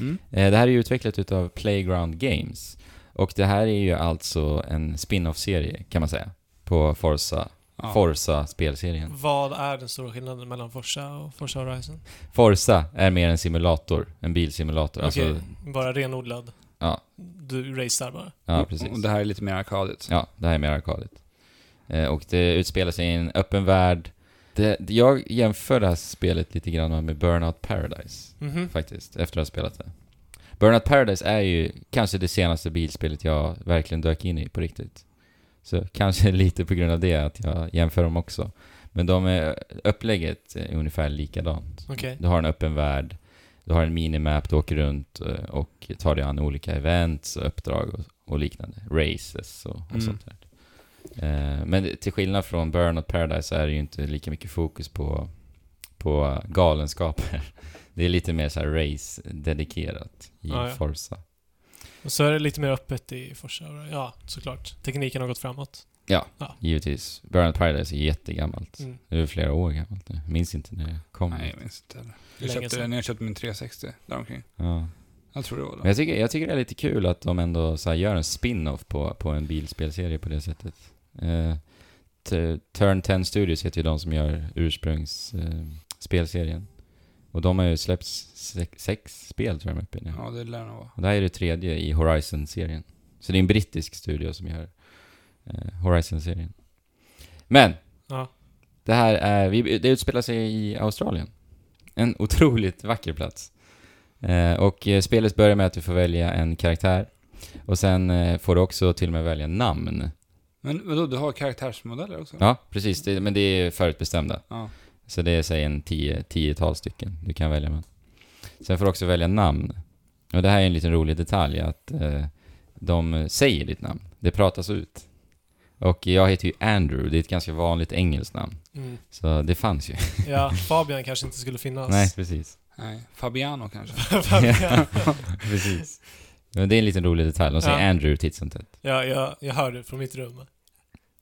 Mm.
Eh, Det här är ju utvecklat utav Playground Games. Och det här är ju alltså en spin-off-serie kan man säga. På Forza,
Ja.
Forza-spelserien.
Vad är den stora skillnaden mellan Forza och Forza Horizon?
Forza är mer en simulator, en bilsimulator.
Okej,
Alltså,
bara renodlad.
Ja.
Du racear bara.
ja, precis.
Mm. Och det här är lite mer arkadigt.
Ja, det här är mer arkadigt. Eh, och det utspelar sig i en öppen värld. Det, det- jag jämför det här spelet lite grann med Burnout Paradise,
Mhm.
faktiskt, efter att ha spelat det. Burnout Paradise är ju kanske det senaste bilspelet jag verkligen dök in i på riktigt. Så kanske lite på grund av det att jag jämför dem också. Men de är, upplägget är ungefär likadant.
Okej.
Du har en öppen värld, du har en minimap, du åker runt eh, och tar dig an olika events och uppdrag och, och liknande. Races och, och
Mm.
sånt där. Eh, Men det- till skillnad från Burnout Paradise så är det ju inte lika mycket fokus på, på galenskaper. Det är lite mer så här race-dedikerat i
Ja, ja.
Forza.
Och så är det lite mer öppet i Forza. Horizon. Ja, såklart. Tekniken har gått framåt.
Givetvis. Burnout Paradise är jättegammalt.
Mm.
Det är flera år gammalt nu. Minns inte när det kom.
Nej, jag minns inte heller. Jag
Länge
köpte
sedan.
den när jag köpte min 360, däromkring.
Ja.
Jag tror det var
Men
då.
jag tycker, jag tycker det är lite kul att de ändå så här gör en spin-off på, på en bilspelserie på det sättet. Eh, t- Turn 10 Studios heter ju de som gör ursprungsspelserien. spelserien och de har ju släppt sex, sex spel tror jag de är uppe i nu.
Ja, det lär det nog vara.
Och det här är det tredje i Horizon-serien. Så det är en brittisk studio som gör eh, Horizon-serien. Men!
Ja.
Det här är, vi, det utspelar sig i Australien. En otroligt vacker plats. Eh, och eh, spelet börjar med att du får välja en karaktär. Och sen eh, får du också till och med välja namn.
Men vadå, du har karaktärsmodeller också?
Ja, precis. Det, men det är förutbestämda.
Ja.
Så det är säg en tio, tiotal stycken du kan välja mellan. Sen får du också välja namn. Och det här är en liten rolig detalj att eh, de säger ditt namn. Det pratas ut. Och jag heter ju Andrew, det är ett ganska vanligt engelskt namn.
Mm.
Så det fanns ju.
Ja, Fabian kanske inte skulle finnas.
Nej, precis.
Nej, Fabiano kanske.
Fabian.
precis. Men det är en liten rolig detalj, de säger
Ja.
Andrew titt som tätt.
ja, jag, jag hör det från mitt rum.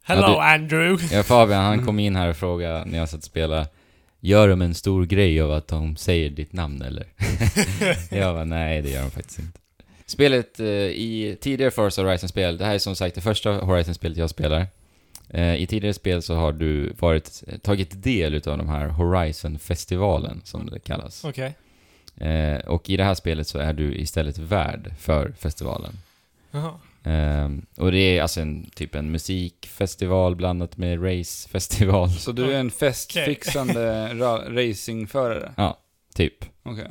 Hello
Ja, du-
Andrew!
Ja, Fabian han kom in här och frågade när jag satt och spelade, gör de en stor grej av att de säger ditt namn eller? jag bara, nej det gör de faktiskt inte. Spelet eh, i tidigare Forza Horizon-spel, det här är som sagt det första Horizon-spelet jag spelar. Eh, I tidigare spel så har du varit, tagit del utav de här Horizon-festivalen som det kallas.
Okej.
Eh, och i det här spelet så är du istället värd för festivalen.
Jaha.
Ehm, och det är alltså en, typ en musikfestival blandat med racefestival,
Så du är en festfixande ra- racingförare?
typ.
Okej.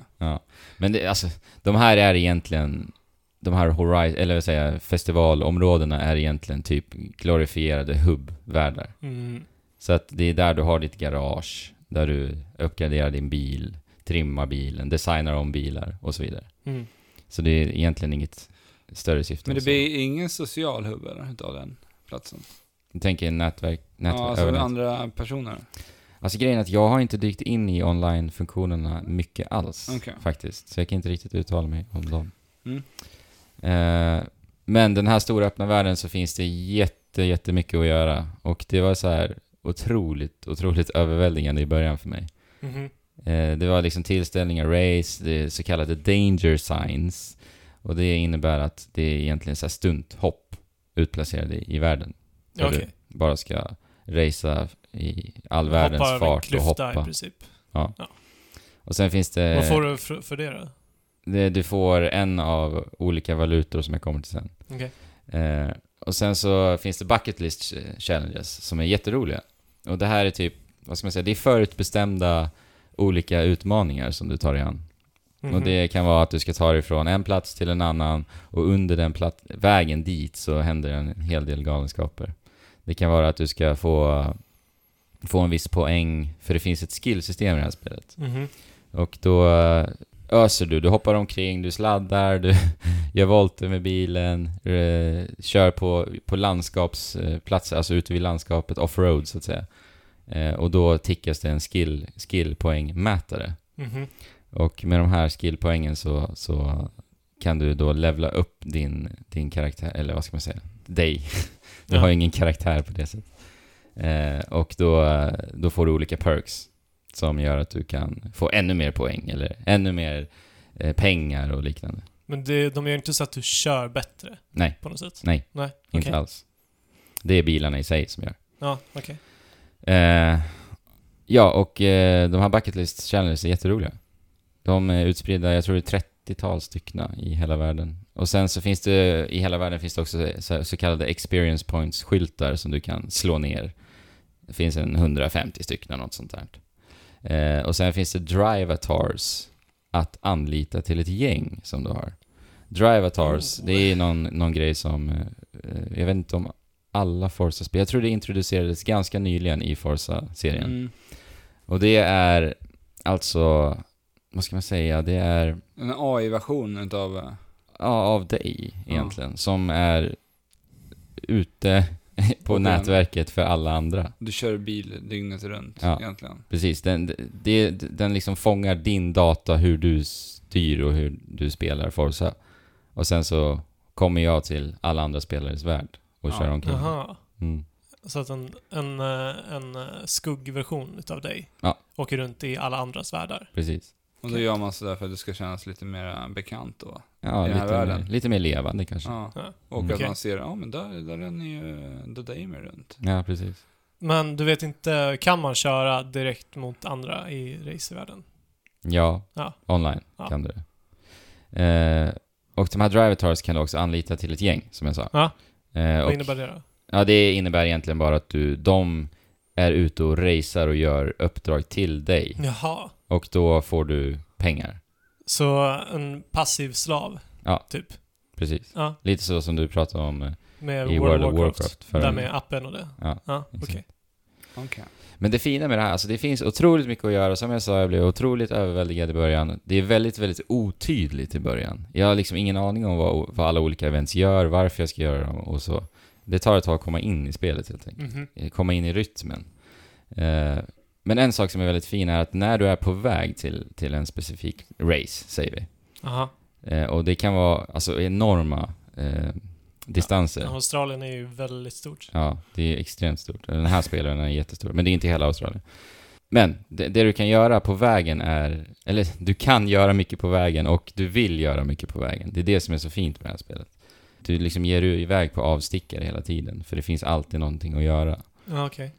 Men det, alltså, de här är egentligen, de här Horizon, eller vad säger jag, festivalområdena är egentligen typ glorifierade hubbvärldar.
Mm.
Så att det är där du har ditt garage, där du uppgraderar din bil, trimmar bilen, designar om bilar och så vidare.
Mm.
Så det är egentligen inget större syfte.
Men
än
det
så.
blir ingen social hubb eller, utav den platsen?
Jag tänker nätverk, nätverk
ja, alltså
övernät.
andra personer?
Alltså grejen är att jag har inte dykt in i online-funktionerna mycket alls
Okej.
faktiskt. Så jag kan inte riktigt uttala mig om dem.
Mm.
Eh, men den här stora öppna världen så finns det jätte, jättemycket att göra. Och det var så här otroligt, otroligt överväldigande i början för mig.
Mhm.
Eh, Det var liksom tillställningar, race, det är så kallade danger signs. Och det innebär att det är egentligen så här stunthopp utplacerade i i världen. Där
Okej.
du bara ska racea i all världens
Hoppa över en
fart och
klyfta i
hoppa. Eh.
princip.
Och sen finns det...
Vad får du för, för det då?
det du får en av olika valutor som jag kommer till sen.
Okej.
Eh, och sen så finns det bucket list challenges som är jätteroliga. Och det här är typ, vad ska man säga, det är förutbestämda olika utmaningar som du tar dig an. Och
Mhm.
det kan vara att du ska ta dig från en plats till en annan och under den plat- vägen dit så händer en hel del galenskaper. Det kan vara att du ska få, få en viss poäng, för det finns ett skillsystem i det här spelet.
Mhm.
Och då eh, öser du, du hoppar omkring, du sladdar, du gör volter med bilen, eh, kör på, på landskapsplatser, alltså ute vid landskapet, offroad så att säga. Eh, Och då tickas det en skill, skillpoängmätare.
Mhm.
Och med de här skillpoängen så, så kan du då levla upp din, din karaktär, eller vad ska man säga, dig. Du
Ja.
har ingen karaktär på det sättet. Eh, och då, då får du olika perks som gör att du kan få ännu mer poäng eller ännu mer eh, pengar och liknande.
Men det, de gör inte så att du kör bättre
Nej,
på något sätt?
Nej.
Nej,
inte
Okej.
alls. Det är bilarna i sig som gör.
ja, okej.
Eh, ja, och eh, de här bucket list challenges är jätteroliga. De är utspridda, jag tror det är 30-tal stycken i hela världen. Och sen så finns det, i hela världen finns det också så, så kallade experience points-skyltar som du kan slå ner. Det finns en 150 stycken, något sånt där. Eh, och sen finns det drivatars att anlita till ett gäng som du har. Drivatars,
Oh.
det är någon, någon grej som, eh, jag vet inte om alla Forza-spel, jag tror det introducerades ganska nyligen i Forza-serien.
Mm.
Och det är alltså, vad ska man säga, det är
En AI-version utav... eh,
ja, av dig egentligen, som är ute på
Okej.
nätverket för alla andra.
Du kör bil dygnet runt
Ja.
egentligen.
Precis, den, det, den liksom fångar din data, hur du styr och hur du spelar Forza. Och sen så kommer jag till alla andra spelares värld och
Ja.
kör omkring.
Jaha.
Mm.
Så att en, en, eh, en eh, skuggversion utav dig
Ja.
åker runt i alla andras världar?
Precis.
Och då gör man sådär för att det ska kännas lite mer bekant då.
Ja,
I den här
lite mer,
världen.
lite mer levande kanske.
Ja.
Ja.
Och
Mm.
att
Okej.
man ser, ja men där, där är ni ju, där Damer runt.
Ja, precis.
Men du vet inte, kan man köra direkt mot andra i racervärlden?
Ja,
Ja.
online
Ja.
kan du det. Eh, och de här drivatars kan du också anlita till ett gäng, som jag sa.
Ja.
Eh,
Vad
och,
innebär det då?
ja, det innebär egentligen bara att du, de är ute och racear och gör uppdrag till dig.
Jaha.
Och då får du pengar.
Så en passiv slav?
Ja.
Typ?
Precis.
Ja.
Lite så som du pratade om eh,
Med
i
World of Warcraft?
förra-
Där med appen och det?
Ja,
Ja, okej.
exakt.
Okej.
Men det fina med det här, alltså det finns otroligt mycket att göra. Som jag sa, jag blev otroligt överväldigad i början. Det är väldigt, väldigt otydligt i början. Jag har liksom ingen aning om vad, vad alla olika events gör, varför jag ska göra dem och så. Det tar ett tag att komma in i spelet helt enkelt.
Mhm.
Eh, Komma in i rytmen. Eh, men en sak som är väldigt fin är att när du är på väg till, till en specifik race, säger vi.
Aha.
Eh, och det kan vara alltså, enorma eh, distanser.
Men Australien är ju väldigt stort.
Ja, det är extremt stort. Den här spelaren är jättestor, men det är inte hela Australien. Men det, det du kan göra på vägen är, eller du kan göra mycket på vägen och du vill göra mycket på vägen. Det är det som är så fint med det här spelet. Du liksom ger dig iväg på avstickare hela tiden, för det finns alltid någonting att göra.
Ja, okej.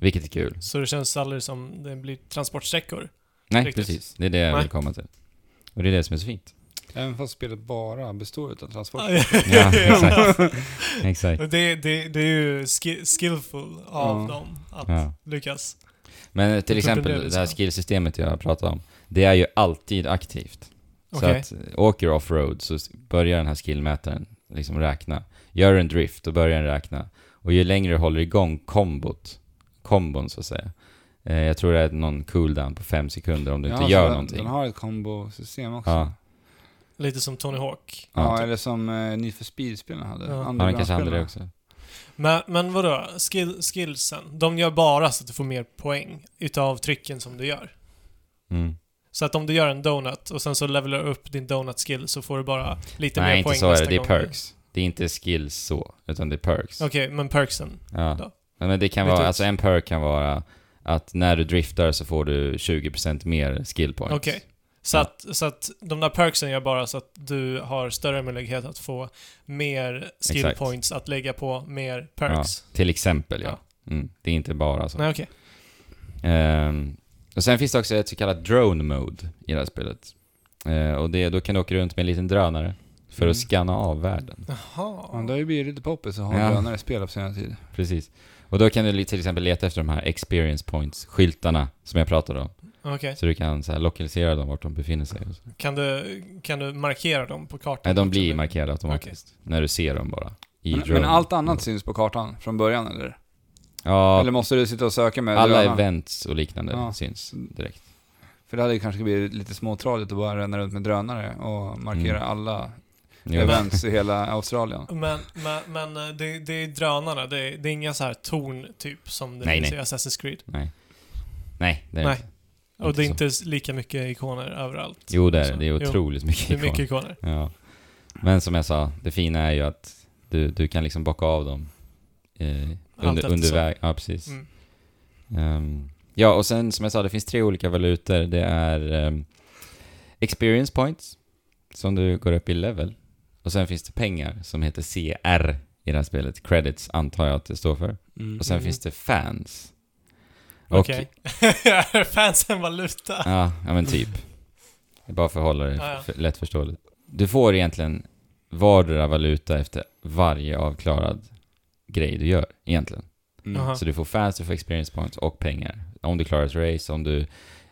Vilket är kul.
Så det känns aldrig som det blir transportsträckor?
Nej,
Riktigt.
precis. Det är det jag
Nej.
vill komma till. Och det är det som är så fint.
Även fast spelet bara består utav transport.
Ja, exakt. Exakt.
det, det, det är ju ski- skillful av
Ja.
dem att
Ja.
lyckas.
Men till
det är
exempel
det
det här
som-
skillsystemet jag pratade om, det är ju alltid aktivt. Så
Okej.
att eh, åker du offroad så s- börjar den här skillmätaren liksom räkna. Gör en drift och börjar den räkna. Och ju längre du håller igång kombot, kombon så att säga. Eh, jag tror det är någon cooldown på fem sekunder om du inte
Ja,
gör
så
någonting.
Den har ett kombosystem också.
Ja.
Ja,
Lite som Tony Hawk.
Ja, typ.
eller som eh, Need for Speed-spelen hade.
Ja.
ja, den kanske hade det också. Mm.
Men, men vadå? Skill, skillsen? De gör bara så att du får mer poäng utav trycken som du gör.
Mm.
Så att om du gör en donut och sen så levelar du upp din donut-skill så får du bara lite
Nej,
mer
inte
poäng
så är det.
nästa
Det är
gång.
perks. Det är inte skills så, utan det är perks.
Okej, men perksen.
Ja.
Då.
Ja, Men det kan
Lite
vara,
ut.
alltså en perk kan vara att när du driftar så får du 20% mer skill points.
Okej. Så,
Ja.
att, så att de där perksen gör bara så att du har större möjlighet att få mer skill
Exakt.
points att lägga på mer perks.
Till exempel ja. Mm. Det är inte bara så.
Nej, okej.
Ehm, och sen finns det också ett så kallat drone mode i det här spelet. Eh, och det, då kan du åka runt med en liten drönare för
Mm.
att scanna av världen.
Ja, men det
Jaha.
har ju blivit lite poppis att ha
Ja.
drönare i spel på senare tid.
Precis. Och då kan du li- till exempel leta efter de här experience points-skyltarna som jag pratade om.
Okej.
Så du kan så här lokalisera dem vart de befinner sig. och så.
Kan du, kan du markera dem på kartan?
Nej, de
också,
blir
eller?
markerade automatiskt när du ser dem bara. I
Men,
drone
men allt annat
mode.
syns på kartan från början eller?
Ja,
Eller måste du sitta och söka med
alla
drönaren?
events och liknande
Ja.
syns direkt.
För det hade ju kanske blivit lite småtradigt att bara ränna runt med drönare och markera
Mm.
alla
Jo.
events i hela Australien.
Men, men, men eh, det, det är drönarna, det är, det är inga så här torn typ som det
Nej,
finns
nej.
i Assassin's Creed.
Nej. Nej, det är det
Nej.
inte.
Och
Inte
det är
så.
inte s- lika mycket ikoner överallt.
Jo, det är det.
Så,
Det är
jo.
otroligt mycket
Det är mycket
ikoner.
ikoner.
Ja. Men som jag sa, det fina är ju att du, du kan liksom bocka av dem eh, under,
eftersom.
under väg. Ja, precis.
Mm.
Ehm, ja, och sen som jag sa, det finns tre olika valutor. Det är ehm, experience points, som du går upp i level. Och sen finns det pengar som heter CR i det här spelet. Credits antar jag att det står för.
Mm.
Och sen
Mhm.
finns det fans. Och-
Okej. Är fansen valuta?
Ja, ja men typ. Det är Bara för att hålla det
Ja, ja.
f- lättförståeligt. Du får egentligen vardera valuta efter varje avklarad grej du gör, egentligen.
Mm.
Aha.
Så du får fans, du får experience points och pengar. Om du klarar ett race, om du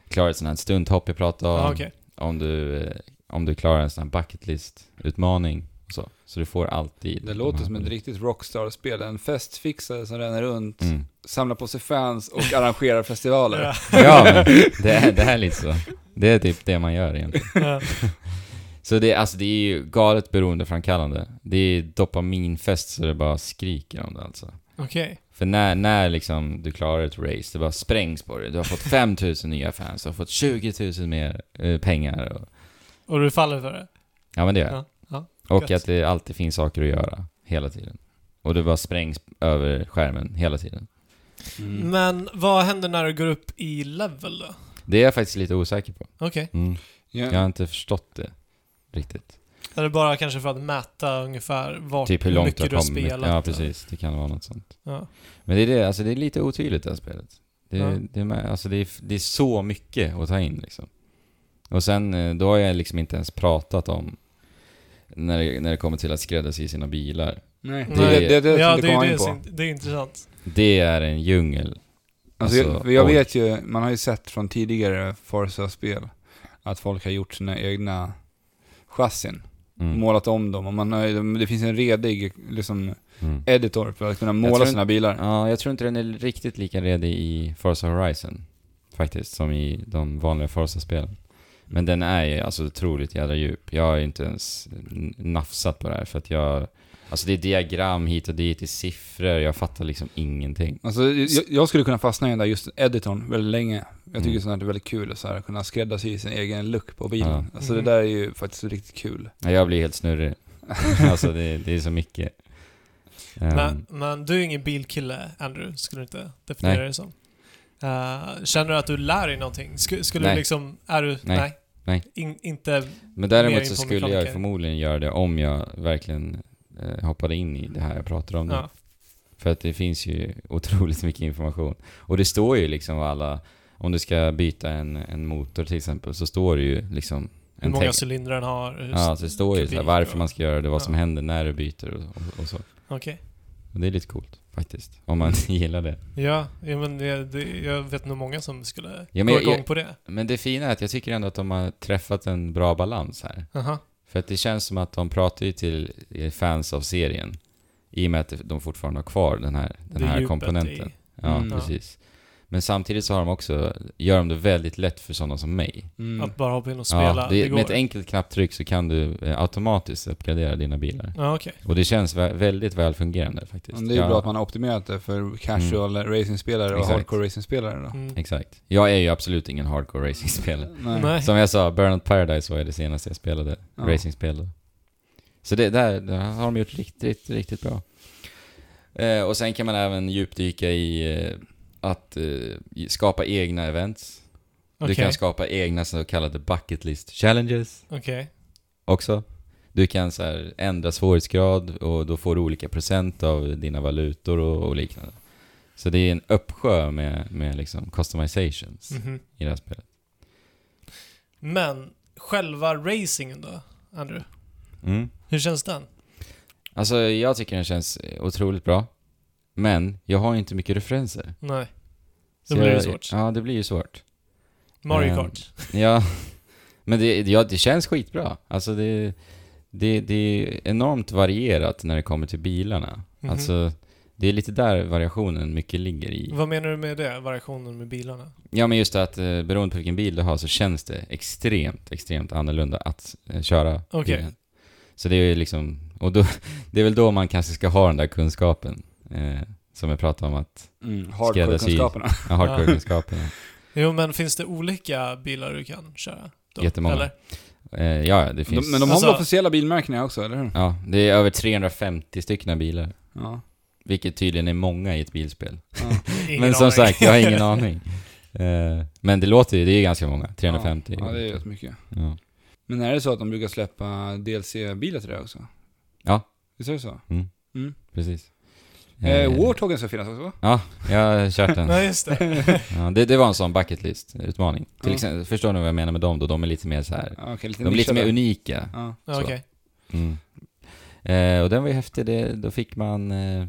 klarar ett sånt här stunthopp jag pratade om,
Ja, okej.
om, du, eh, om du klarar en sån här bucket list-utmaning och så. Så du får alltid...
Det
de
låter
här
som ett
valutorna.
riktigt rockstar-spel. En festfixare som ränner runt,
Mm.
samlar på sig fans och arrangerar festivaler.
Ja.
Ja, men det är, det här är lite så. Det är typ det man gör egentligen.
Ja.
Så det, alltså det är ju galet beroendeframkallande. Det är dopaminfest så det bara skriker om det alltså.
Okej.
För när, när liksom du klarar ett race, det bara sprängs på dig. Du har fått 5000 nya fans, du har fått 20 000 mer eh, pengar. Och,
Och du faller för det?
ja men det gör
Ja,
jag.
ja,
Och
gött.
att det alltid finns saker att göra, hela tiden. Och du bara sprängs över skärmen hela tiden.
Mm.
Men vad händer när du går upp i level då?
Det är jag faktiskt lite osäker på.
Okej.
Mm.
Ja.
Jag har inte förstått det riktigt.
Är det bara kanske för att mäta ungefär vart,
Typ hur långt
mycket
du
du har
har kommit.
spelat?
Ja precis, det kan vara något sånt.
Ja.
Men det är, det, alltså det är lite otydligt det här spelet. Det,
Ja.
det, är, med- alltså det, är, det är så mycket att ta in liksom. Och sen, eh, då har jag liksom inte ens pratat om när det, när det kommer till att skräddarsy sina bilar.
Nej,
Det-
det är det, det, är det
ja,
som
det
du
är
kommer
ju
in på.
det, som, det är intressant.
Det är en djungel.
Alltså,
Alltså,
jag, jag
oj.
vet ju, man har ju sett från tidigare Forza-spel att folk har gjort sina egna chassin,
Mm.
målat om dem och man har, ju- det finns en redig liksom,
Mm.
editor för att kunna
tror
måla
inte-
sina bilar.
Ja, jag tror inte den är riktigt lika redig i Forza Horizon faktiskt, som i de vanliga Forza-spelen. Men den är ju alltså otroligt jävla djup. Jag har ju inte ens n- nafsat på det här för att jag... Alltså det är diagram hit och dit, det är siffror, jag fattar liksom ingenting.
Alltså, jag, jag skulle kunna fastna i den där just editorn väldigt länge. Jag tycker
Mm.
sånt här är väldigt kul, så här, att kunna skräddarsy sin egen look på bilen.
Ja.
Alltså
Mhm.
det där är ju faktiskt riktigt kul.
Ja, Jag blir helt snurrig. alltså det, det är så mycket. Ehm,
Men, men du är ingen bilkille, Andrew, skulle du inte definiera
Nej.
dig som. Eh, känner du att du lär dig någonting? Sk skulle
Nej.
du liksom... Är du...
Nej.
Nej.
Nej.
In, inte...
men
mer
däremot
in
så
på
skulle jag
mekaniker.
förmodligen göra det om jag verkligen eh, hoppade in i det här jag pratar om nu.
Ja.
För att det finns ju otroligt mycket information. Och det står ju liksom vad alla, om du ska byta en, en motor till exempel, så står det ju liksom
Hur
en
många
text.
cylindrar den har. hur
Ja, så det står ju så här,
kubik
varför
och-
man ska göra det, vad som
Ja.
händer när du byter och, och, och så.
Okej.
Och det är lite coolt faktiskt, om man gillar det.
Ja, ja, men det, det, jag vet nog många som skulle
Ja, men
gå
jag-
igång
jag-
på det.
Men det fina är att jag tycker ändå att de har träffat en bra balans här.
Aha.
För att det känns som att de pratar ju till eh, fans av serien. I och med att de fortfarande har kvar den här, den
Det är
här
djupet
komponenten.
i-
Ja,
Mm.
precis. Men samtidigt så har de också, gör de det väldigt lätt för sådana som mig.
Mm.
Att bara hoppa in och spela.
ja,
det,
det,
går.
med ett enkelt knapptryck så kan du eh, automatiskt uppgradera dina bilar.
Ja, okej.
Och det känns vä- väldigt välfungerande faktiskt.
Men Det är ju
Jag-
bra att man har optimerat det för casual racingspelare och
Mm. Exakt.
hardcore racingspelare då.
Mm.
Exakt. Jag är ju absolut ingen hardcore racingspelare.
Nej.
Nej.
Som jag sa, Burnout Paradise var ju det senaste jag spelade,
Ja.
racingspel då. Så det där, där har de gjort riktigt, riktigt bra. Eh, och sen kan man även djupdyka i eh, att eh, i- skapa egna events. Du
Okej.
kan skapa egna så kallade bucket list challenges
Okej.
också. Du kan så här, ändra svårighetsgrad och då får du olika procent av dina valutor och, och liknande. Så det är en uppsjö med, med liksom customizations
Mhm.
i det här spelet.
Men själva racingen då, Andrew?
Mm.
Hur känns den?
Alltså jag tycker den känns eh, otroligt bra. Men jag har ju inte mycket referenser.
Nej.
Så
blir det
jag-
svårt.
Ja, det blir ju svårt.
Mario
Ehm,
Kart.
Ja, men det, ja, det känns skitbra. Alltså det, det, det är enormt varierat när det kommer till bilarna.
Mhm.
Alltså Det är lite där variationen mycket ligger i.
Vad menar du med det? Variationen med bilarna?
Ja, men just det att eh, beroende på vilken bil du har så känns det extremt, extremt annorlunda att eh, köra
Okej.
bilen. Så det är ju liksom, och då, det är väl då man kanske ska ha den där kunskapen. Eh, som jag pratade om att,
Mm,
Skräddarsy.
Hardcore-kunskaperna.
ja, hardcore-kunskaperna.
Jo, men finns det olika bilar du kan köra? Då?
Jättemånga.
Eller?
Eh, ja, ja, det finns.
De, men de har
Alltså-
väl officiella bilmärkena också, eller hur?
Ja, det är över 350 stycken bilar.
Ja.
Vilket tydligen är många i ett bilspel.
ja.
Ingen
men som
aning.
sagt, jag har ingen aning. Eh, men det låter ju, det är ganska många. 350.
Ja, det är rätt mycket.
Ja.
Men är det så att de brukar släppa DLC-bilar till det här också?
Ja.
Visst är det så?
Precis.
Eh, Warthogen ska finnas också?
Ja, jag har kört den.
Nej, just det.
Ja, det, det var en sån bucket list-utmaning. Till
Ja.
exempel, förstår ni vad jag menar med dem då? De är lite mer så här.
Ja, okej, lite
de är lite mer
nischade.
unika.
Ja.
Ja,
Så.
okej.
Mm. Eh, och den var ju häftig, det, då fick man eh,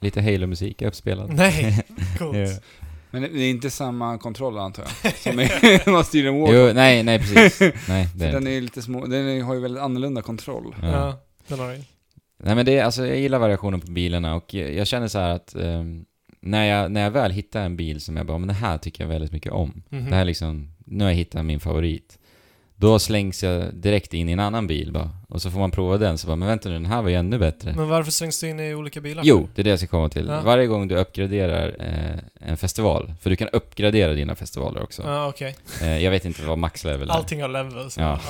lite Halo-musik uppspelad.
Nej, coolt.
Ja.
Men det är inte samma kontroll antar jag, som är, man styr en Warthog.
Jo, nej, nej precis. Nej, det är
Den
det.
är lite små, den har ju väldigt annorlunda kontroll.
Ja.
Ja, den har jag.
Nej men det är, alltså jag gillar variationen på bilarna och jag, jag känner så här att ehm, när, jag, när jag väl hittar en bil som jag bara, men det här tycker jag väldigt mycket om.
Mhm.
Det här är liksom, nu har jag hittat min favorit. Då slängs jag direkt in i en annan bil bara. Och så får man prova den, så bara, men vänta nu, den här var ju ännu bättre.
Men varför slängs du in i olika bilar?
Jo, det är det jag ska komma till.
Mm. Ja.
Varje gång du uppgraderar eh, en festival, för du kan uppgradera dina festivaler också.
Ja, okej.
Eh, jag vet inte vad max level är.
Allting har levels.
Ja.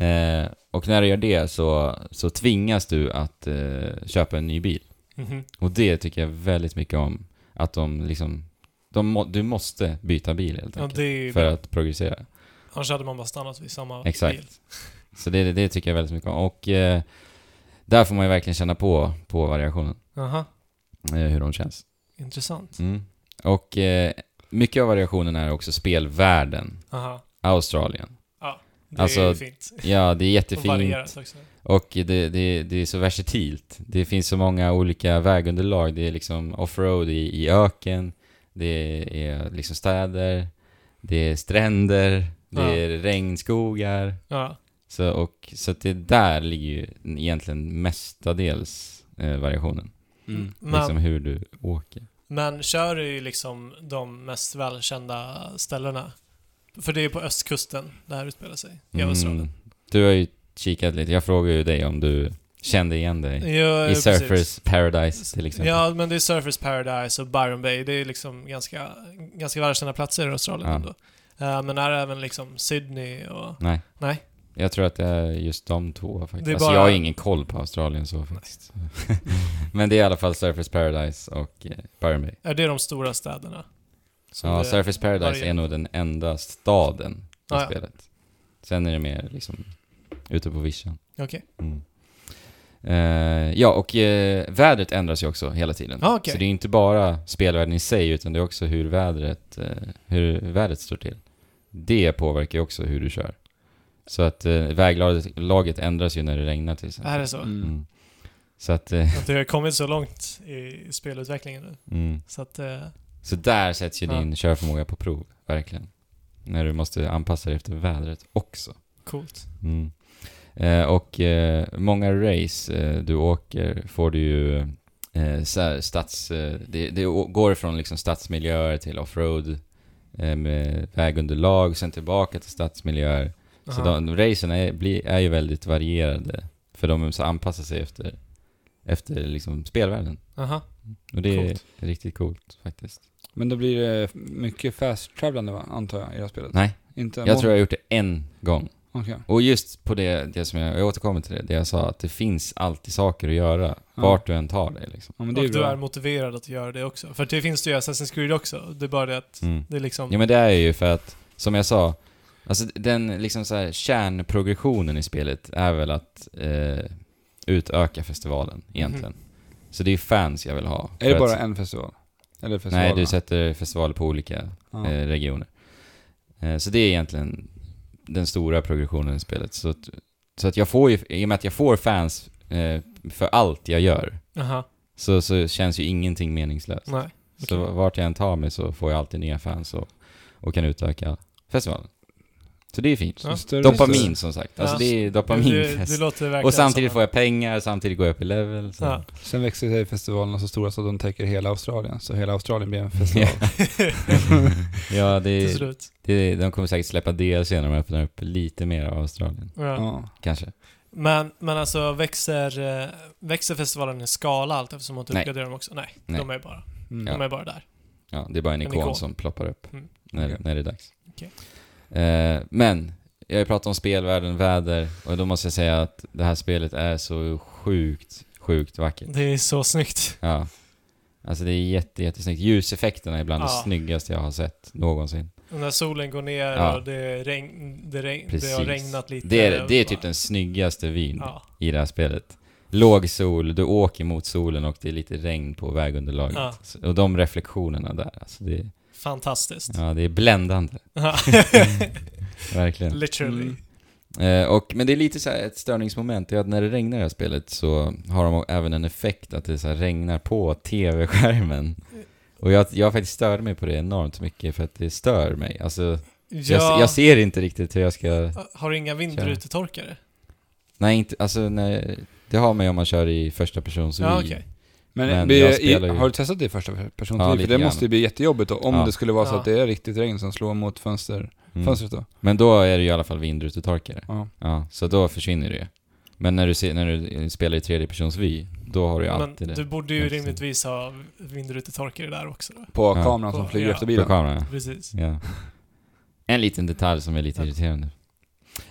Eh, och när du gör det så, så tvingas du att eh, köpa en ny bil.
Mhm.
Och det tycker jag väldigt mycket om. Att de liksom, de må, du måste byta bil helt
ja
enkelt.
det är ju
för att progressera.
Annars hade man bara stannat vid samma
Exakt.
bil.
Så det, det tycker jag väldigt mycket om. Och eh, där får man ju verkligen känna på, på variationen,
Aha,
eh, hur de känns.
intressant.
Mm. Och eh, mycket av variationen är också spelvärlden,
Aha.
Australien.
Det
Alltså,
är ju fint.
Ja, det är
Och
jättefint
varierat också.
och det, det, det är så versatilt. Det finns så många olika vägunderlag. Det är liksom offroad i, i öken, det är liksom städer, det är stränder, det
Ja.
är regnskogar.
Ja.
Så, och, så att det där ligger ju egentligen mestadels eh, variationen.
Mm.
Men,
Liksom hur du åker.
men kör du ju liksom de mest välkända ställena? För det är på östkusten det här utspelar sig. I
Mm,
Australien.
Du har ju kikat lite. Jag frågade ju dig om du kände igen dig.
Ja,
I
precis.
Surfers Paradise till exempel.
Ja, men det är Surfers Paradise och Byron Bay. Det är liksom ganska, ganska välkända platser i Australien
Ja.
ändå. Eh, men här är även liksom Sydney och...
Nej.
Nej.
Jag tror att det är just de två faktiskt.
Det är
Alltså
bara-
jag har ingen koll på Australien så faktiskt. Men det är i alla fall Surfers Paradise och eh, Byron Bay.
Är det de stora städerna? Som
Ja,
det-
Surfers Paradise
varierar.
är nog den enda staden i
Ah, ja.
spelet. Sen är det mer liksom ute på vischan.
Okej.
Mm. Eh, ja, och eh, vädret ändras ju också hela tiden.
Ah, okej.
Så det är inte bara spelvärlden i sig, utan det är också hur vädret, eh, hur vädret står till. Det påverkar ju också hur du kör. Så att eh, väglaget laget ändras ju när det regnar till exempel.
Är det så?
Mm.
Mm. Så att, eh,
Att det har kommit så långt i spelutvecklingen nu.
mm.
Så att... eh,
Så där sätts ju
Ja.
din körförmåga på prov, verkligen. När du måste anpassa dig efter vädret också.
coolt.
Mm. Eh, och eh, många race eh, du åker får du ju eh, så här, stads... Eh, det, det å- går från liksom stadsmiljöer till offroad eh, med vägunderlag, sen tillbaka till stadsmiljöer. Så
Aha.
de, racen är, blir, är ju väldigt varierade, för de måste anpassa sig efter, efter liksom spelvärlden.
Aha.
Och det
Coolt.
är riktigt coolt faktiskt.
Men då blir det mycket fast-travelande va, antar jag, i det här spelet?
Nej.
Inte
Jag tror jag har gjort det en gång.
Okej.
Och just på det, det som jag, jag återkommer till det, det jag sa att det finns alltid saker att göra,
Ja.
vart du än tar dig liksom.
Ja, men det är
Och
ju
du är
bra.
motiverad att göra det också. För det finns det ju i Assassin's Creed också. Det är bara det att det är liksom...
Ja men det är ju för att, som jag sa, alltså den liksom så här, kärnprogressionen i spelet är väl att eh, utöka festivalen egentligen. Så det är fans jag vill ha.
Mhm. Är
För
det bara
att,
en festival? Eller festivaler?
Nej, du sätter festivaler på olika
Ja.
eh, regioner. Eh, så det är egentligen den stora progressionen i spelet. Så att, så att jag får ju, i och med att jag får fans eh, för allt jag gör,
Aha.
så, så känns ju ingenting meningslöst.
Nej.
Så vart jag än tar mig så får jag alltid nya fans och, och kan utöka festivalen. Så det är fint.
Ja.
Just det, just
Dopamin
det.
som sagt. Alltså
Ja.
det är
Det, det
dopaminfest.
låter verkligen
Och samtidigt
som-
får jag pengar, samtidigt går jag upp i level. Så.
Ja.
Sen växer sig festivalerna så stora så att de täcker hela Australien. Så hela Australien blir en festival.
Ja,
Till
det,
slut.
det, de kommer säkert släppa DLC när de öppnar upp lite mer av Australien.
Ja.
ja.
Kanske.
Men, men alltså växer, eh, växer festivalen i skala allt eftersom att
Nej.
uppgraderar dem också? Nej,
Nej.
de är bara,
Mm.
de är bara där.
Ja, det är bara en
En
ikon,
ikon.
som ploppar upp
Mm.
när,
Okej.
när det är dags.
Okej.
Eh, men, jag har ju pratat om spelvärlden, väder och då måste jag säga att det här spelet är så sjukt, sjukt vackert.
Det är så snyggt.
Ja. Alltså det är jätte, jättesnyggt. Ljuseffekterna är bland det
Ja.
snyggaste jag har sett någonsin.
När solen går ner
Ja.
och det, regn, det, regn, det har
Precis.
regnat lite.
Det är, det är typ
Bara-
den snyggaste vyn
Ja.
i det här spelet. Låg sol, du åker mot solen och det är lite regn på vägunderlaget.
Ja.
Så- Och de reflektionerna där, alltså det, är-
Fantastiskt.
ja, det är bländande. Verkligen.
Literally.
Mm.
Eh, och, men det är lite så här ett störningsmoment, det är att när det regnar i det här spelet så har de även en effekt att det så här regnar på tv-skärmen. Och jag, jag faktiskt stör mig på det enormt mycket för att det stör mig. Alltså,
Ja,
jag, jag ser inte riktigt hur jag ska...
Har du inga vindrutetorkare?
Nej, inte, alltså nej, det har man ju om man kör i första persons
Ja,
vy.
okej.
Men,
Men
blir,
jag
det-
spelar ju-
i, har du testat det i första person?
Ja,
Ja, för
lite
det
grann.
måste ju bli jättejobbigt då, om
Ja.
det skulle vara så
Ja.
att det är riktigt regn som slår mot fönster,
mm.
fönstret då.
Men då är det ju i alla fall vindrutetorkare.
Ja.
Ja, så då försvinner det ju. Men när du, ser, när du eh, spelar i tredje persons vy, då har du ju
Men
alltid
du
det.
borde ju
Just det.
rimligtvis ha vindrutetorkare där också då.
På
Ja.
kameran som
På-
flyger
ja.
efter
På
bilen.
kameran, ja.
Precis.
Ja. En liten detalj som är lite
Ja.
irriterande.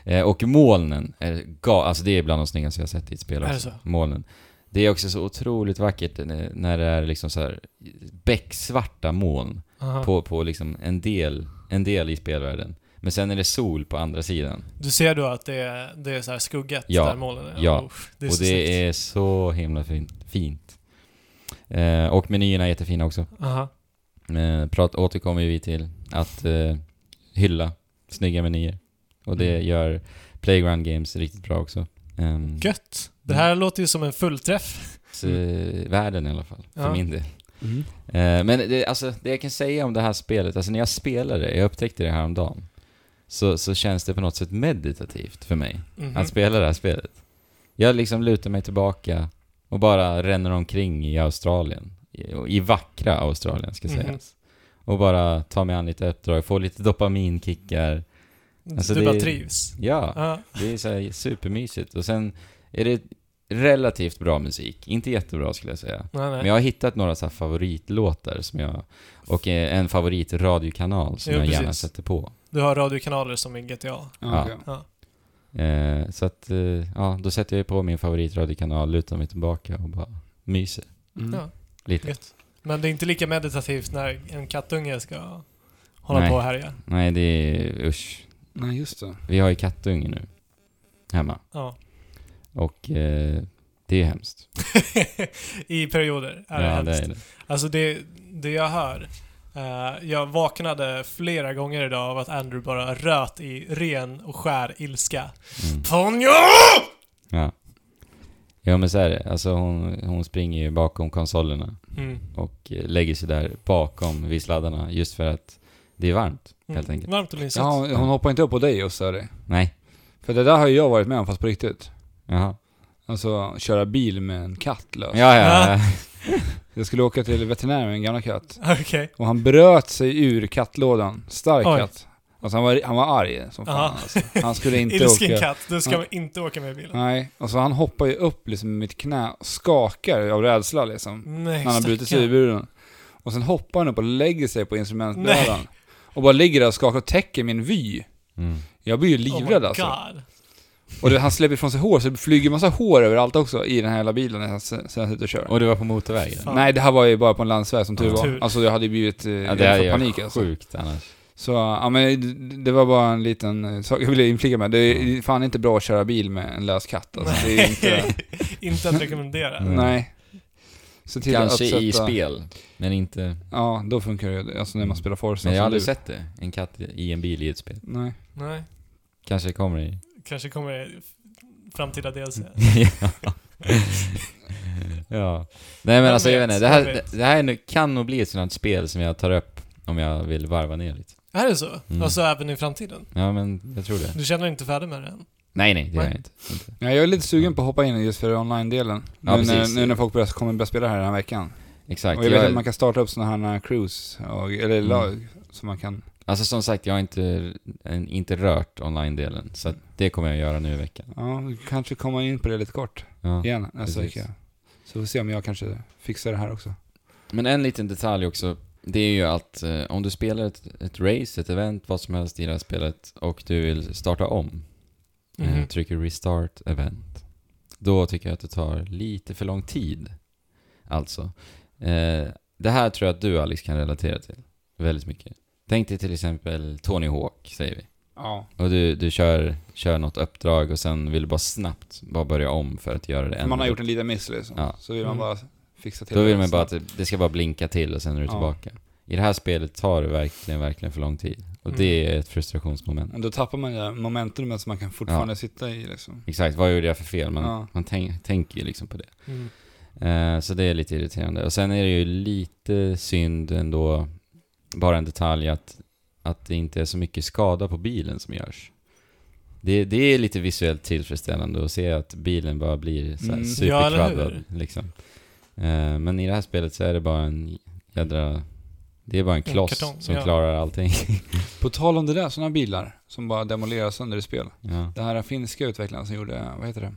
Eh, och molnen, är ga- alltså det är bland de snyggaste jag har sett i ett spel
Är det
också.
så?
Molnen. Det är också så otroligt vackert när när det är liksom så här becksvarta moln
Aha.
på, på liksom en, del, en del i spelvärlden. Men sen är det sol på andra sidan.
Du ser då att det är, det är så här skuggat
Ja.
där molnen är?
Ja.
Uff, det är
och
så
det
snyggt.
är så himla fint. fint. Eh, och menyerna är jättefina också.
Aha.
Eh, prat, återkommer ju vi till att eh, hylla snygga menyer. Och det
Mm.
gör Playground Games riktigt bra också. Ehm,
Gött! Det här låter ju som en fullträff.
så, eh, Världen i alla fall, för
Ja.
min del.
Mm.
Eh, men det, alltså, det jag kan säga om det här spelet, alltså när jag spelade det, jag upptäckte det häromdagen, så, så känns det på något sätt meditativt för mig
Mhm.
att spela det här spelet. Jag liksom lutar mig tillbaka och bara ränner omkring i Australien. I, och i vackra Australien, ska
Mhm.
sägas. Och bara tar mig an lite uppdrag, får lite dopaminkickar. Alltså,
Mhm. du
det
bara
är-
trivs.
Ja,
Ja.
det är så här supermysigt. Och sen är det relativt bra musik. Inte jättebra skulle jag säga.
Nej, nej.
Men jag har hittat några så här favoritlåtar som jag... Och eh, en favoritradiokanal som
Jo,
jag gärna
precis.
sätter på.
Du har radiokanaler som i GTA.
Ja,
Ja.
okej.
Ja.
Eh, så att, eh, ja, då sätter jag ju på min favoritradiokanal, lutar mig tillbaka och bara myser
Mm.
Ja.
lite.
Gött. Men det är inte lika meditativt när en kattunge ska hålla
Nej.
på och härja.
Nej, det är... Usch.
Nej, just det.
Vi har ju kattunge nu. Hemma.
Ja.
Och eh, det är hemskt.
I perioder är det
ja,
hemskt.
det är det.
Alltså det, det jag hör. eh, jag vaknade flera gånger idag av att Andrew bara röt i ren och skär ilska.
Mm.
Ponyo!
Ja. Ja men så är det. Alltså hon, hon springer ju bakom konsolerna
Mm.
och eh, lägger sig där bakom vid sladdarna just för att det är varmt helt
Mm.
enkelt.
Varmt och mysigt.
Ja, hon hoppar inte upp på dig och stör dig.
Nej.
För det där har ju jag varit med om, fast på riktigt.
Jaha.
Alltså, köra bil med en katt lös.
Ja, ja, ja.
Jag skulle åka till veterinären med en gammal katt.
Okej.
Och han bröt sig ur kattlådan. Stark
Oj.
katt. Alltså han var, han var arg som fan.
Aha.
Alltså. Han skulle inte
Ilsken
åka.
katt, du ska
Ja.
man inte åka med i bilen.
Nej, och så han hoppar ju upp liksom i mitt knä och skakar av rädsla liksom. När
Nej,
han har brutit sig ur
stackarn.
buren. Och sen hoppar han upp och lägger sig på instrumentbrädan. Och bara ligger där och skakar och täcker min vy.
Mm.
Jag blir ju
oh
livrädd
my
alltså.
God.
Och det, han släpper ifrån sig hår så det flyger massa hår överallt också i den här hela bilen när han sen sitter och kör.
Och det var på motorvägen.
Fan.
Nej, det här var ju bara på en landsväg som tur
Ja.
var.
Tur.
Alltså jag hade ju blivit eh,
Ja,
jag
det
hade fått
är
panik
panik,
alltså.
sjukt annars.
Så ja, men det- det var bara en liten eh, sak jag ville inflika med. Det
Mm.
är fan inte bra att köra bil med en lös katt. Alltså, det är inte,
inte att rekommendera.
Mm.
nej. Se till
Kanske
att sätta,
i spel, men inte...
Ja, då funkar det ju. Alltså när man spelar Forza.
Men jag
som
har aldrig
du.
sett det. En katt i en bil i ett spel.
Nej.
Nej,
Kanske kommer i...
kanske kommer det i framtida DLC.
Mm.
ja. ja. Nej men
Vem
alltså jag
vet?
vet inte. Det här,
Vem
det,
vet?
det här är nu- kan nog bli ett sånt här spel som jag tar upp om jag vill varva ner lite.
Är det så?
Mm.
Alltså även i framtiden?
Ja, men jag tror det.
Du känner dig inte färdig med det än?
Nej, nej, det är
Nej.
jag inte. inte.
Ja, jag är lite sugen på att hoppa in i just för online-delen.
Ja,
nu, när,
precis.
nu när folk börjar, kommer börja spela här den här veckan.
Exakt.
Och jag vet
Jag-
att man kan starta upp sådana här crews, och, eller
Mm.
lag, som man kan...
Alltså som sagt, jag har inte, en- inte rört online-delen, så att det kommer jag göra nu i veckan.
Ja, vi kanske komma in på det lite kort
Ja.
igen nästa
precis.
vecka. Så får vi se om jag kanske fixar det här också.
Men en liten detalj också, det är ju att eh, om du spelar ett, ett race, ett event, vad som helst i det här spelet och du vill starta om, eh,
Mhm.
trycker restart event, då tycker jag att det tar lite för lång tid. Alltså. Eh, det här tror jag att du Alex kan relatera till väldigt mycket. Tänk dig till exempel Tony Hawk, säger vi.
Ja.
Och du, du kör, kör något uppdrag och sen vill du bara snabbt bara börja om för att göra det
För man har
ännu-
gjort en liten miss liksom.
Ja.
Så vill man
Mm.
bara fixa till
Då
det
vill man bara
snabbt.
att det, det ska bara blinka till och sen är du
Ja.
tillbaka. I det här spelet tar det verkligen, verkligen för lång tid. Och det
Mm.
är ett frustrationsmoment.
Men Då tappar man ju momentumet som man kan fortfarande sitta i liksom.
Exakt, vad gjorde jag för fel? Man,
Ja.
man tänk, tänker ju liksom på det.
Mm.
Eh, så det är lite irriterande. Och sen är det ju lite synd ändå, bara en detalj, att, att det inte är så mycket skada på bilen som görs. Det, det är lite visuellt tillfredsställande att se att bilen bara blir så här
Mm.
Ja, eller hur?
superkvaddad. liksom. Eh, men i det här spelet så är det bara en jädra... Det är bara en kloss
kartong,
som
ja.
klarar allting.
På tal om det där, sådana bilar som bara demoleras sönder i spel.
ja.
Det här är finska utvecklaren som gjorde, vad heter det?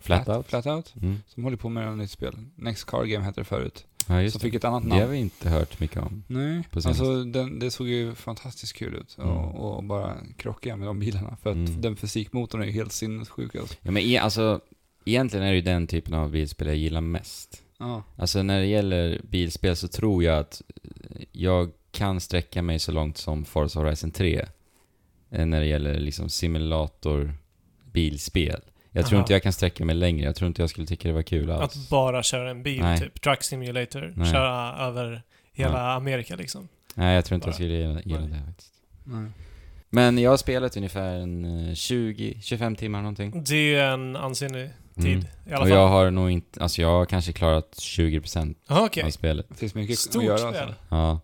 Flat out.
Flatout?
Mm.
Som håller på med ett nytt spel. Next Car Game hette det förut.
Ja,
som
just det.
fick ett annat
Det har
namn.
vi inte hört mycket om.
Nej,
På senaste.
alltså den, det såg ju fantastiskt kul ut.
Mm.
Och, och bara krocka med de bilarna. För att
Mm.
den fysikmotorn är ju helt sinnessjuk alltså.
Ja, men e alltså, egentligen är det ju den typen av bilspel jag gillar mest.
Ja.
Alltså när det gäller bilspel så tror jag att jag kan sträcka mig så långt som Forza Horizon 3. eh, När det gäller liksom simulator bilspel. Jag tror
Aha.
inte jag kan sträcka mig längre. Jag tror inte jag skulle tycka det var kul
Att
alls.
bara köra en bil,
Nej.
typ. Truck simulator.
Nej.
Köra över hela Amerika liksom.
Nej, jag tror inte jag
bara-
skulle gilla, gilla
Nej.
det faktiskt.
Nej.
Men jag har spelat ungefär en eh, 20-25 timmar någonting.
Det är en ansenlig tid
Mm.
i alla
Och
fall.
jag har nog inte, alltså jag har kanske klarat 20%
Aha, okej.
av spelet.
Det finns mycket
Stort
att göra
spel.
alltså.
Ja.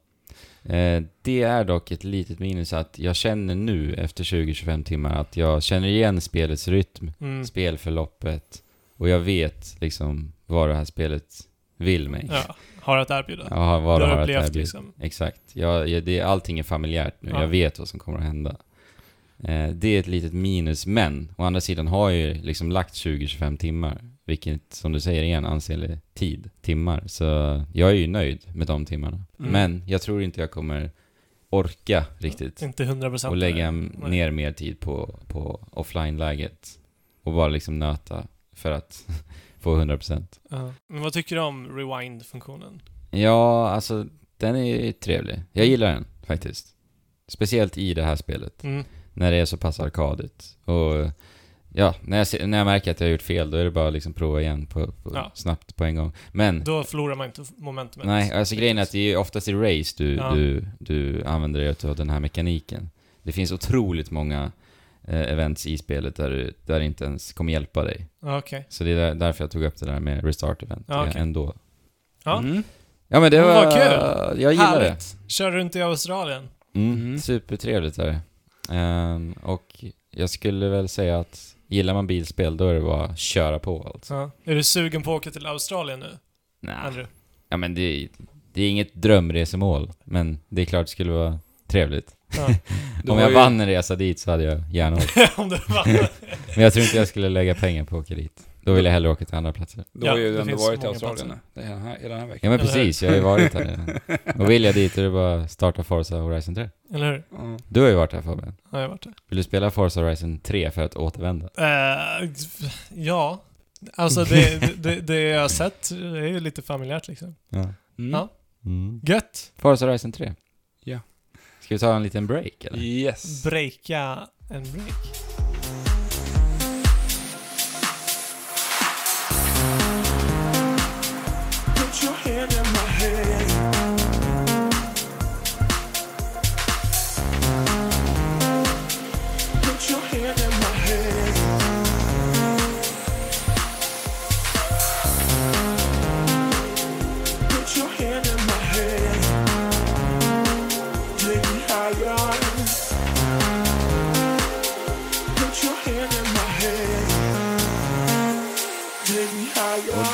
Eh, Det är dock ett litet minus att jag känner nu efter 20-25 timmar att jag känner igen spelets rytm,
Mm.
spelförloppet och jag vet liksom vad det här spelet vill mig.
Ja, har att erbjuda.
Ja, vad
du
det
har
har att
upplevt
erbjuda.
liksom.
Exakt. Jag, jag, det, allting är familjärt nu.
Ja.
Jag vet vad som kommer att hända. Eh, det är ett litet minus, men å andra sidan har jag ju liksom lagt 20-25 timmar, vilket som du säger är en ansenlig tid, timmar. Så jag är ju nöjd med de timmarna.
Mm.
Men jag tror inte jag kommer orka riktigt
Inte 100 procent.
och lägga ner mer tid på, på offline-läget och bara liksom nöta för att få 100%.
Men vad tycker du om rewind-funktionen?
Ja, alltså den är ju trevlig. Jag gillar den faktiskt. Speciellt i det här spelet,
Mm.
när det är så pass arkadigt. Och ja, när jag, ser, när jag märker att jag har gjort fel, då är det bara att liksom prova igen på, på,
Ja.
snabbt på en gång. Men,
Då förlorar man inte momentumet.
nej, alltså grejen är att det är ju oftast i race du,
Ja.
du, du använder dig av den här mekaniken. Det finns otroligt många eh, events i spelet där, du, där det inte ens kommer hjälpa dig.
Ja, Okej.
Så det är där, därför jag tog upp det där med restart event
Ja, okej.
ändå.
Ja.
Mm.
Ja men det
Men
var...
vad
kul! Jag gillar det.
Härligt. Kör runt i Australien.
Mm,
Mhm.
Supertrevligt är det. Ehm, och jag skulle väl säga att gillar man bilspel då är det bara att köra på alltså.
Ja. Är du sugen på att åka till Australien nu,
Nah.
Andrew?
Ja men det, det är inget drömresemål, men det är klart det skulle vara trevligt.
Det
Om
var
jag
ju-
vann en resa dit så hade jag gärna åkt.
Om du vann.
Men jag tror inte jag skulle lägga pengar på att åka dit. Då vill jag hellre åka till andra platser.
Då
Ja,
har ju
det
du ändå
finns
varit i
många
Australien nu.
platser.
Det är den här, hela den här veckan.
Ja men
Eller hur?
precis, jag har ju varit här redan. Och vill jag dit är det bara att starta Forza Horizon 3.
Eller hur?
Ja.
Du har ju varit här Fabian.
Ja, jag har varit där.
Vill du spela Forza Horizon 3 för att återvända?
Eh, ja. Alltså det, det, det jag har sett det är ju lite familjärt liksom.
Ja.
Mm.
Ja.
Mm.
Gött!
Forza Horizon 3.
Ja.
Ska vi ta en liten break eller?
Yes.
Breaka en break.
Put your hand in my hand. Put your hand in my hand. Put your hand in my hand. Take me higher.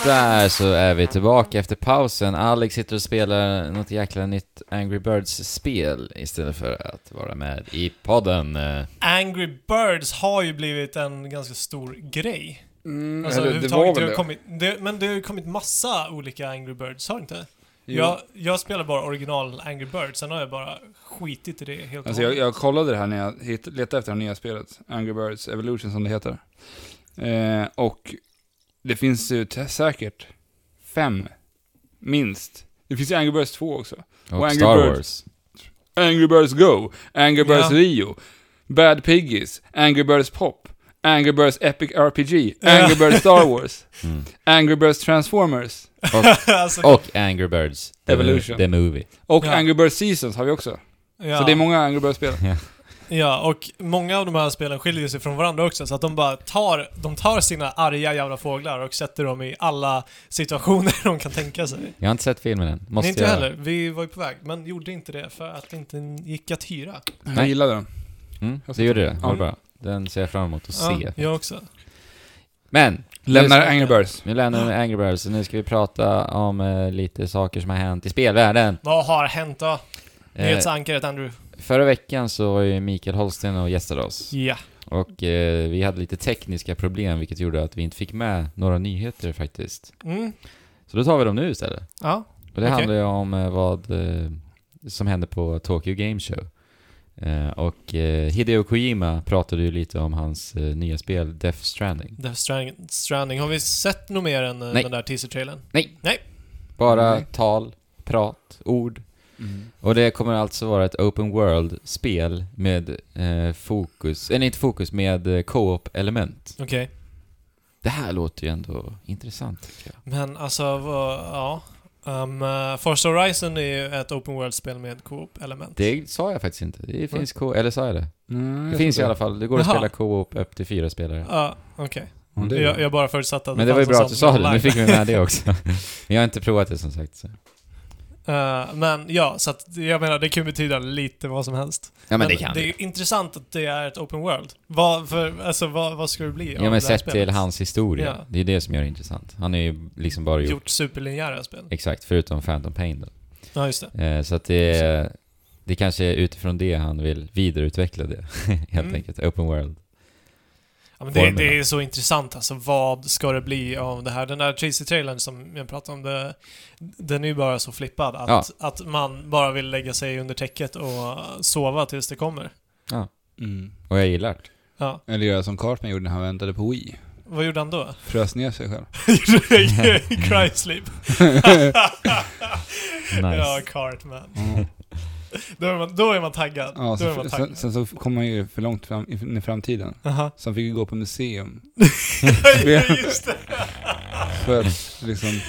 Där så är vi tillbaka efter pausen. Alex sitter och spelar något jäkla nytt Angry Birds-spel istället för att vara med i podden. Eh,
Angry Birds har ju blivit en ganska stor grej.
Mm,
Alltså,
eller
överhuvudtaget, det har kommit, det, men det har ju kommit massa olika Angry Birds, har det inte?
Jo.
Jag, jag spelar bara original Angry Birds, sen har jag bara skitit i det helt och
Alltså jag,
hållet.
jag kollade det här när jag hitt, letade efter det här nya spelet, Angry Birds Evolution som det heter. Eh, och det finns ju t- säkert fem, minst. Det finns ju Angry Birds 2 också.
Och
Angry
Star
Birds.
Wars.
Angry Birds Go, Angry Birds
Ja.
Rio, Bad Piggies, Angry Birds Pop, Angry Birds Epic RPG,
Ja.
Angry Birds Star Wars,
Mm.
Angry Birds Transformers
alltså,
Och Angry Birds. The
Evolution.
Mo- The Movie.
och
Ja.
Angry Birds Seasons har vi också.
ja.
Så det är många Angry Birds-spel.
Ja, och många av de här spelen skiljer sig från varandra också, så att de bara tar, de tar sina arga jävla fåglar och sätter dem i alla situationer de kan tänka sig.
Jag har inte sett filmen än. Måste
Nej, inte
jag.
heller. Vi var ju på väg, men gjorde inte det för att det inte gick att hyra.
Jag
Nej.
gillade dem.
Mm,
Jag
det gjorde det. Var
Ja.
bra. Den ser jag fram emot att
ja,
se.
jag också.
Men!
Lämnar
nu,
Angry Birds.
nu lämnar vi Angry Birds, så nu ska vi prata om eh, lite saker som har hänt i spelvärlden.
Vad har hänt då?
Eh,
Nyhetsankaret Andrew.
förra veckan så var ju Mikael Holsten och gästade oss.
Ja.
Och eh, vi hade lite tekniska problem vilket gjorde att vi inte fick med några nyheter faktiskt.
Mm.
Så då tar vi dem nu istället.
Ja.
Och det
Okej.
handlar ju om eh, vad eh, som hände på Tokyo Game Show. Eh, och eh, Hideo Kojima pratade ju lite om hans eh, nya spel Death Stranding.
Death Stranding. Stranding. Har vi sett något mer än eh,
Nej.
den där teaser-trailern?
Bara
Nej.
tal, prat, ord.
Mm.
Och det kommer alltså vara ett open world-spel med eh, fokus, eller inte fokus, med eh, co-op element.
Okej.
Det här låter ju ändå intressant tycker jag.
Men alltså, vad, ja. Um, eh, Forza Horizon är ju ett open world-spel med co-op-element.
Det sa jag faktiskt inte. Det finns co eller sa jag det?
Mm,
Det finns i alla fall. Det går att
Jaha.
spela co-op upp till fyra spelare. Mm.
Ja, okej.
fall.
Jag, jag bara förutsatte att
Men det var ju
fanns
bra
en
att du
sån
sa det, nu
online.
fick vi med det också. Men jag har inte provat det som sagt. Så.
Eh, men ja, så att jag menar, det kan betyda lite vad som helst.
Ja men det kan
det är
vi.
ju intressant att det är ett open world. Vad, för, alltså, vad, vad ska det bli
Ja men sett till hans historia.
Ja.
Det är det som gör det intressant. Han är ju liksom bara gjort,
Gjort superlinjära spel.
exakt, förutom Phantom Pain då.
Ja, just det.
Eh, så att det, är- det kanske är utifrån det han vill vidareutveckla det. Helt
Mm.
enkelt, open world.
Ja, men det,
Formerna.
det är så intressant alltså. Vad ska det bli av det här? Den där Tracy-trailern som jag pratade om, det, den är ju bara så flippad att, att man bara vill lägga sig under täcket och sova tills det kommer.
Mm.
Och jag gillar det.
Ja.
Eller göra som Cartman gjorde när han väntade på Wii.
Vad gjorde han då?
Frös ner sig själv.
Cry sleep.
Nice.
Ja, Cartman. Då är man, då är man taggad.
Ja,
då är man
så,
taggad.
sen, sen så kom man ju för långt fram in i framtiden.
Aha.
Så han fick ju gå på museum.
ja, just det.
För att liksom,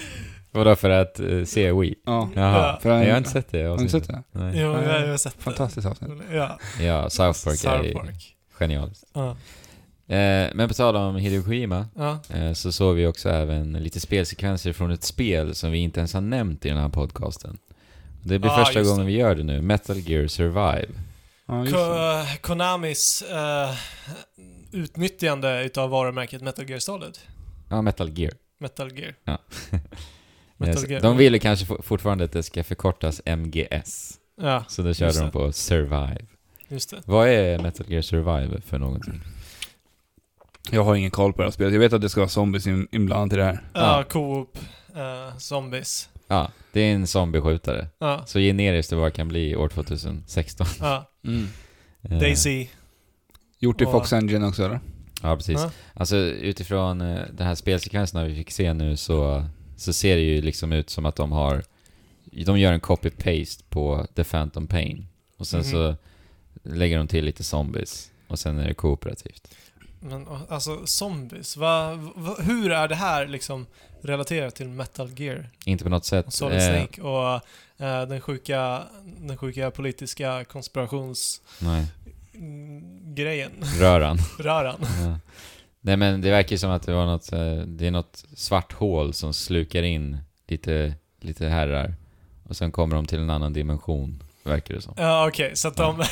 Vadå för att eh, se Wii?
ja.
Jaha,
För han,
jag har inte sett det.
Har ni sett det?
Nej.
Jo, jag, jag har sett
Fantastiskt avsnitt.
det. Ja.
Ja, South Park är
South
ju
Park.
genialiskt.
Ja.
Eh, men på tal om Hideo Kojima,
Ja.
eh, så såg vi också även lite spelsekvenser från ett spel som vi inte ens har nämnt i den här podcasten. Det blir
Ah,
första
just
gången
det.
vi gör det nu, Metal Gear Survive.
Ja, just det.
Ko Konamis eh, utnyttjande utav varumärket Metal Gear Solid.
Ja, Metal Gear.
Metal Gear.
Ja. Eh,
Metal
så
Gear.
De ville kanske for- fortfarande att det ska förkortas MGS,
Ja,
så då körde
Just
de
det.
på Survive.
just det.
Vad är Metal Gear Survive för någonting?
Jag har ingen koll på det här spelet. Jag vet att det ska vara zombies in- inblandat i det här.
Ja, Coop, eh, Zombies.
Ja, det är en zombieskjutare.
Ja,
Så generiskt det bara kan bli år 2016.
ja.
Eh,
Daisy.
Mm. Gjort i
Och-
Fox Engine också eller?
Ja, precis.
Ja.
Alltså utifrån eh, den här spelsekvenserna vi fick se nu så, så ser det ju liksom ut som att de har... De gör en copy-paste på The Phantom Pain. Och sen
Mhm.
så lägger de till lite zombies. Och sen är det kooperativt.
Men och, alltså, Zombies. Va, va, hur är det här liksom relaterat till Metal Gear?
Inte på något
Och
sätt...
Solid
eh,
Snake och eh, den, sjuka, den sjuka politiska konspirationsgrejen.
nej, röran.
Röran.
Ja. Nej men det verkar ju som att det var något... eh, Det är något svart hål som slukar in lite, lite herrar. Och sen kommer de till en annan dimension, verkar det som.
Ja, okej, så att de...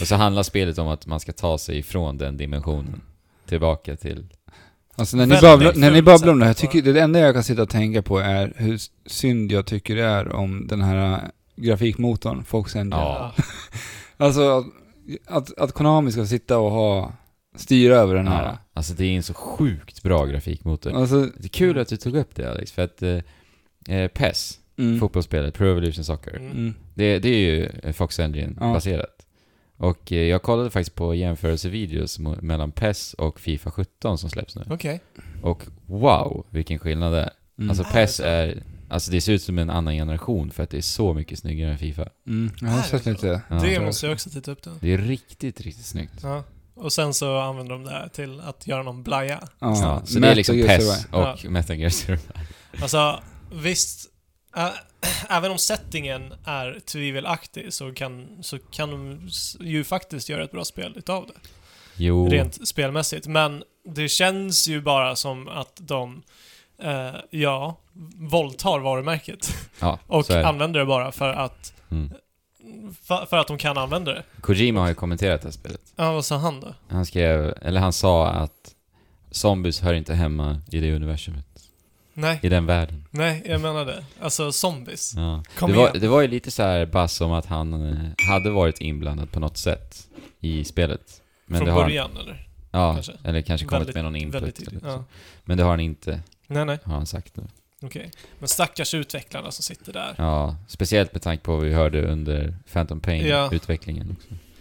Och så handlar spelet om att man ska ta sig ifrån den dimensionen tillbaka till
Alltså när ni,
Väldigt
babblar, när ni
fult
babblar om det här,
sätt
tycker, det enda jag kan sitta och tänka på är hur synd jag tycker det är om den här äh, grafikmotorn, Fox Engine.
Ja.
Alltså att, att, att Konami ska sitta och ha, styra över den här.
Ja. Alltså det är en så sjukt bra grafikmotor.
Alltså,
Det är kul att du tog upp det Alex, för att eh, eh, PES,
mm,
fotbollsspelet, Pro Evolution Soccer,
Mm.
mm,
det, det är ju eh, Fox Engine-baserat. Och eh, jag kollade faktiskt på jämförelsevideos mo- mellan PES och Fifa 17 som släpps nu.
Okej.
Och wow, vilken skillnad det är.
mm,
Alltså
Är
PES
det så?
är, alltså det ser ut som en annan generation för att det är så mycket snyggare än Fifa.
mm, jag har
Är det
sett
så?
lite.
Ja.
Det måste jag också titta upp den.
Det är riktigt, riktigt snyggt.
Ja. Och sen så använder de det här till att göra någon blaja.
Ja,
Ja, så det är
Metal
liksom
Gear
PES
Survive.
och Metal Gear Survive.
Alltså, visst. Ä- även om settingen är tvivelaktig så kan, så kan de s- ju faktiskt göra ett bra spel utav det.
Jo.
Rent spelmässigt. Men det känns ju bara som att de, eh, ja, våldtar varumärket.
Ja,
Och
så är det.
använder det bara för att,
Mm.
för, för att de kan använda det.
Kojima har ju kommenterat det här spelet.
Ja, vad sa han då?
Han skrev, eller han sa att zombies hör inte hemma i det universumet.
Nej,
I den världen.
nej, jag menar det. Alltså zombies.
Ja.
Kom
Det, var,
igen.
det var ju lite så här bass om att han eh, hade varit inblandad på något sätt i spelet. Men det
Från
har han,
början eller?
ja,
kanske.
eller kanske kommit
Väldigt-
med någon input.
Väldigt
eller
tidigt.
så.
Ja.
Men det har han inte,
Nej, nej,
har han sagt nu.
okej. Men stackars utvecklarna som sitter där.
Ja, speciellt med tanke på vad vi hörde under Phantom
Ja.
Pain-utvecklingen.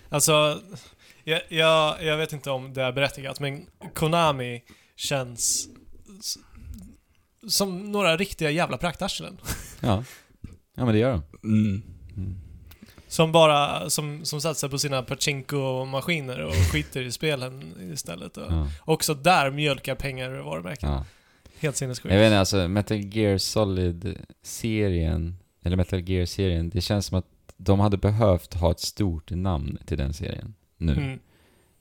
Alltså, jag, jag, jag vet inte om det är berättigat, men Konami känns s- som några riktiga jävla praktarslen.
Ja. ja, men det gör de.
Mm.
Mm.
Som bara, som, som satsar på sina Pachinko-maskiner och skiter i spelen istället. Och
Ja.
Också där mjölkar pengar ur varumärket. Helt
Ja. Men Jag vet
sinnessjukt.
inte, alltså Metal Gear Solid-serien, eller Metal Gear-serien, det känns som att de hade behövt ha ett stort namn till den serien nu.
Mm,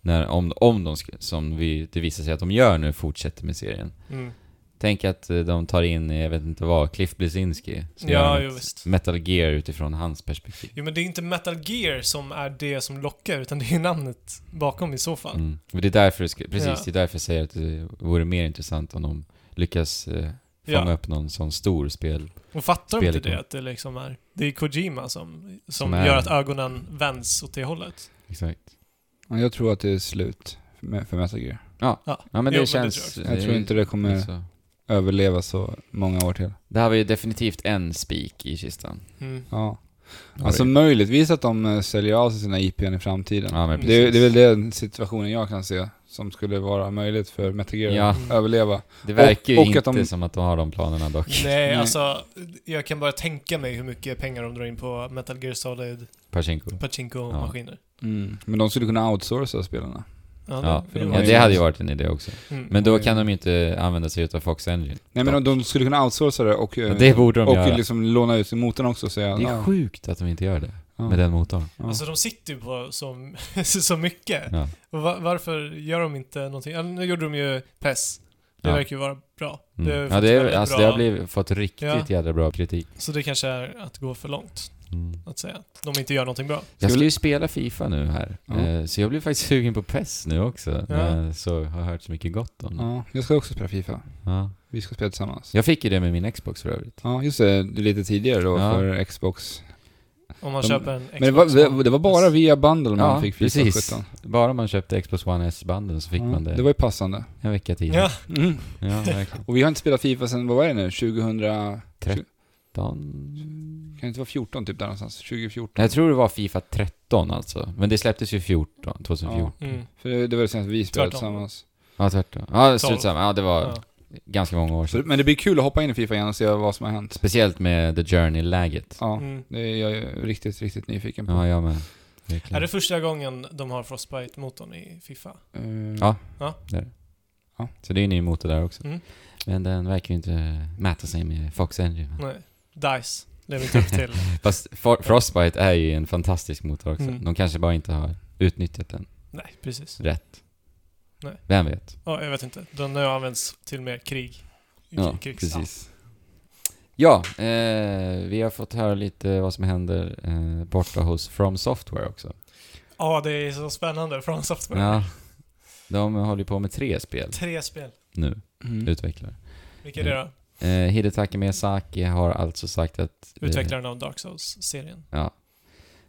När, om, om de, sk- som vi, det visar sig att de gör nu, fortsätter med serien.
mm.
Tänk att eh, de tar in, eh, jag vet inte vad, Cliff Bleszinski. som
Ja,
gör
jo
ett
visst.
Metal Gear utifrån hans perspektiv.
Jo men det är inte Metal Gear som är det som lockar, utan det är namnet bakom i så fall.
Mm. Och det är därför, det ska- precis,
Ja.
det är därför jag säger att det vore mer intressant om de lyckas eh, fånga
Ja.
upp någon sån stor spel.
Och fattar de inte
Spelet,
det
ja.
att det liksom är... Det är Kojima som, som,
Som är-
gör att ögonen vänds åt det hållet.
Exakt.
Ja, jag tror att det är slut med, för Metal Gear.
Ja
Jo,
men det alltså-
men det
känns...
tror
Jag tror inte det kommer
så.
överleva så många år till.
Det här var ju definitivt en spik i kistan.
Mm.
Ja.
Har
Alltså
vi.
möjligtvis att de eh, säljer av sig sina IPn i framtiden.
ja, men
Det-
Det,
precis.
det är väl den situationen jag kan se som skulle vara möjligt för Metal Gear
Ja.
att överleva.
Det verkar ju
och
inte
att de-
som att de har de planerna dock.
Nej,
Nej.
alltså jag kan bara tänka mig hur mycket pengar de drar in på Metal Gear Solid
Pachinko.
Pachinko-maskiner.
Mm. Men de skulle kunna outsourca spelarna.
Ja,
Ja,
för
det,
de
ja,
har ju-
det hade ju varit en idé också.
Mm.
Men då kan de ju inte använda sig utav Fox Engine.
Nej men
Dock.
de, de skulle kunna outsourca det och, eh,
Ja, det borde de
och
göra.
liksom låna ut motorn också och säga
Det
ja,
är sjukt att de inte gör det
ja.
med den motorn.
Ja.
Alltså de sitter ju på så, så mycket.
Ja.
Och va- varför gör de inte någonting? Ja, nu gjorde de ju PES. Det
Ja.
verkar ju vara bra.
Mm.
har ju
ja,
fått
det, är,
väldigt
alltså,
bra-
det har blivit, fått riktigt
Ja.
jävla bra kritik.
Så det kanske är att gå för långt,
Mm.
att säga. att De inte gör någonting bra.
Jag
vi-
skulle ju spela Fifa nu här,
Ja.
Eh, så jag blir faktiskt sugen på PES nu också.
Ja.
när jag Så har hört så mycket gott om det.
ja, jag ska också spela Fifa.
Ja.
Vi ska spela tillsammans. Ja,
Jag fick ju det med min Xbox för övrigt.
just det. Det är Lite tidigare då
Ja.
för Xbox.
Om man
De-
köper en
Men
Xbox
det var,
One
det, det var bara
S.
via Bundle man
Ja,
fick Fifa
precis.
17.
Bara man köpte Xbox One S-banden så fick
Ja,
man det,
det var ju passande.
en vecka tidigare.
Ja,
Mm.
Ja, verkligen.
Och vi har inte spelat Fifa sedan, vad var det nu? 2000... Kan
Dan...
det inte vara 14 typ där någonstans? 2014?
Jag tror det var Fifa 13 alltså, men det släpptes ju 14, 2014.
mm.
För det, det var det senaste vi spelade
Tvärtom.
tillsammans.
Ja, tvärtom. Ja, strunt
Tolv.
samma. Ja, det var
ja.
ganska många år
Så,
sedan.
men det blir kul att hoppa in i Fifa igen och se vad som har hänt.
Speciellt med The Journey-läget.
Ja,
Mm.
det är jag ju riktigt, riktigt nyfiken på.
Ja, jag med.
Är
Verkligen.
det första gången de har Frostbite-motorn i Fifa?
Eh,
Ja. Så det är ju en ny motor där också.
Mm.
Men den verkar ju inte mäta sig med Fox Engine. va?
Nej. Dice lever inte upp till.
Fast For- Frostbite är ju en fantastisk motor också.
Mm.
De kanske bara inte har utnyttjat den
Nej, precis.
rätt.
Nej.
Vem vet?
Ja, jag vet inte. Den har använts till mer krig.
Ja,
krigs-
precis. Ja, eh, vi har fått höra lite vad som händer eh, borta hos From Software också.
Ja, det är så spännande. Från Software.
Ja. De håller ju på med tre spel.
Tre spel.
nu,
Mm.
utvecklare.
Vilka är det då?
Eh, Hidetaki Miyazaki har alltså sagt att... eh,
Utvecklaren av Dark Souls-serien.
Ja.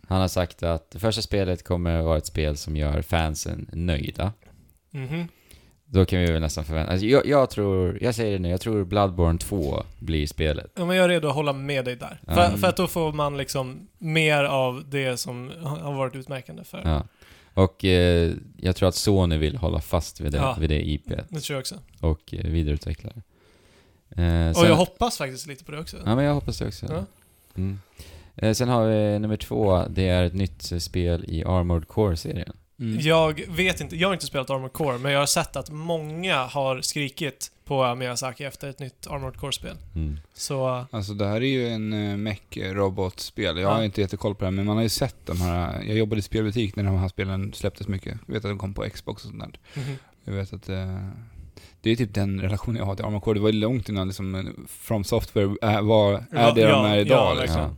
Han har sagt att det första spelet kommer att vara ett spel som gör fansen nöjda.
Mhm.
Då kan vi väl nästan förvänta... Alltså jag, jag tror, jag säger det nu, jag tror Bloodborne 2 blir spelet.
Ja, men jag är redo att hålla med dig där.
Ja.
För, för att då får man liksom mer av det som har varit utmärkande för...
Ja. Och eh, jag tror att Sony vill hålla fast vid det,
Ja.
vid det IP
Det tror jag också.
och eh, vidareutveckla det. Eh,
Och
sen-
jag hoppas faktiskt lite på det också.
Ja, men jag hoppas det också.
Ja.
Mm. Eh, sen har vi nummer två, det är ett nytt eh, spel i Armored Core-serien.
Mm.
Jag vet inte, jag har inte spelat Armored Core, men jag har sett att många har skrikit på Miyazaki efter ett nytt Armored Core-spel.
Mm.
Så...
Alltså det här är ju en uh, mech-robotspel. Jag har
Ja.
inte jättekoll på det här, men man har ju sett de här. Jag jobbade i spelbutik när de här spelen släpptes mycket. Jag vet att de kom på Xbox och sånt där.
mhm.
Jag vet att eh, det är typ den relationen jag har till Armored Core. Det var ju långt innan liksom eh, From Software är, var, är
Ja,
det de
ja,
är
ja,
idag.
verkligen.
liksom.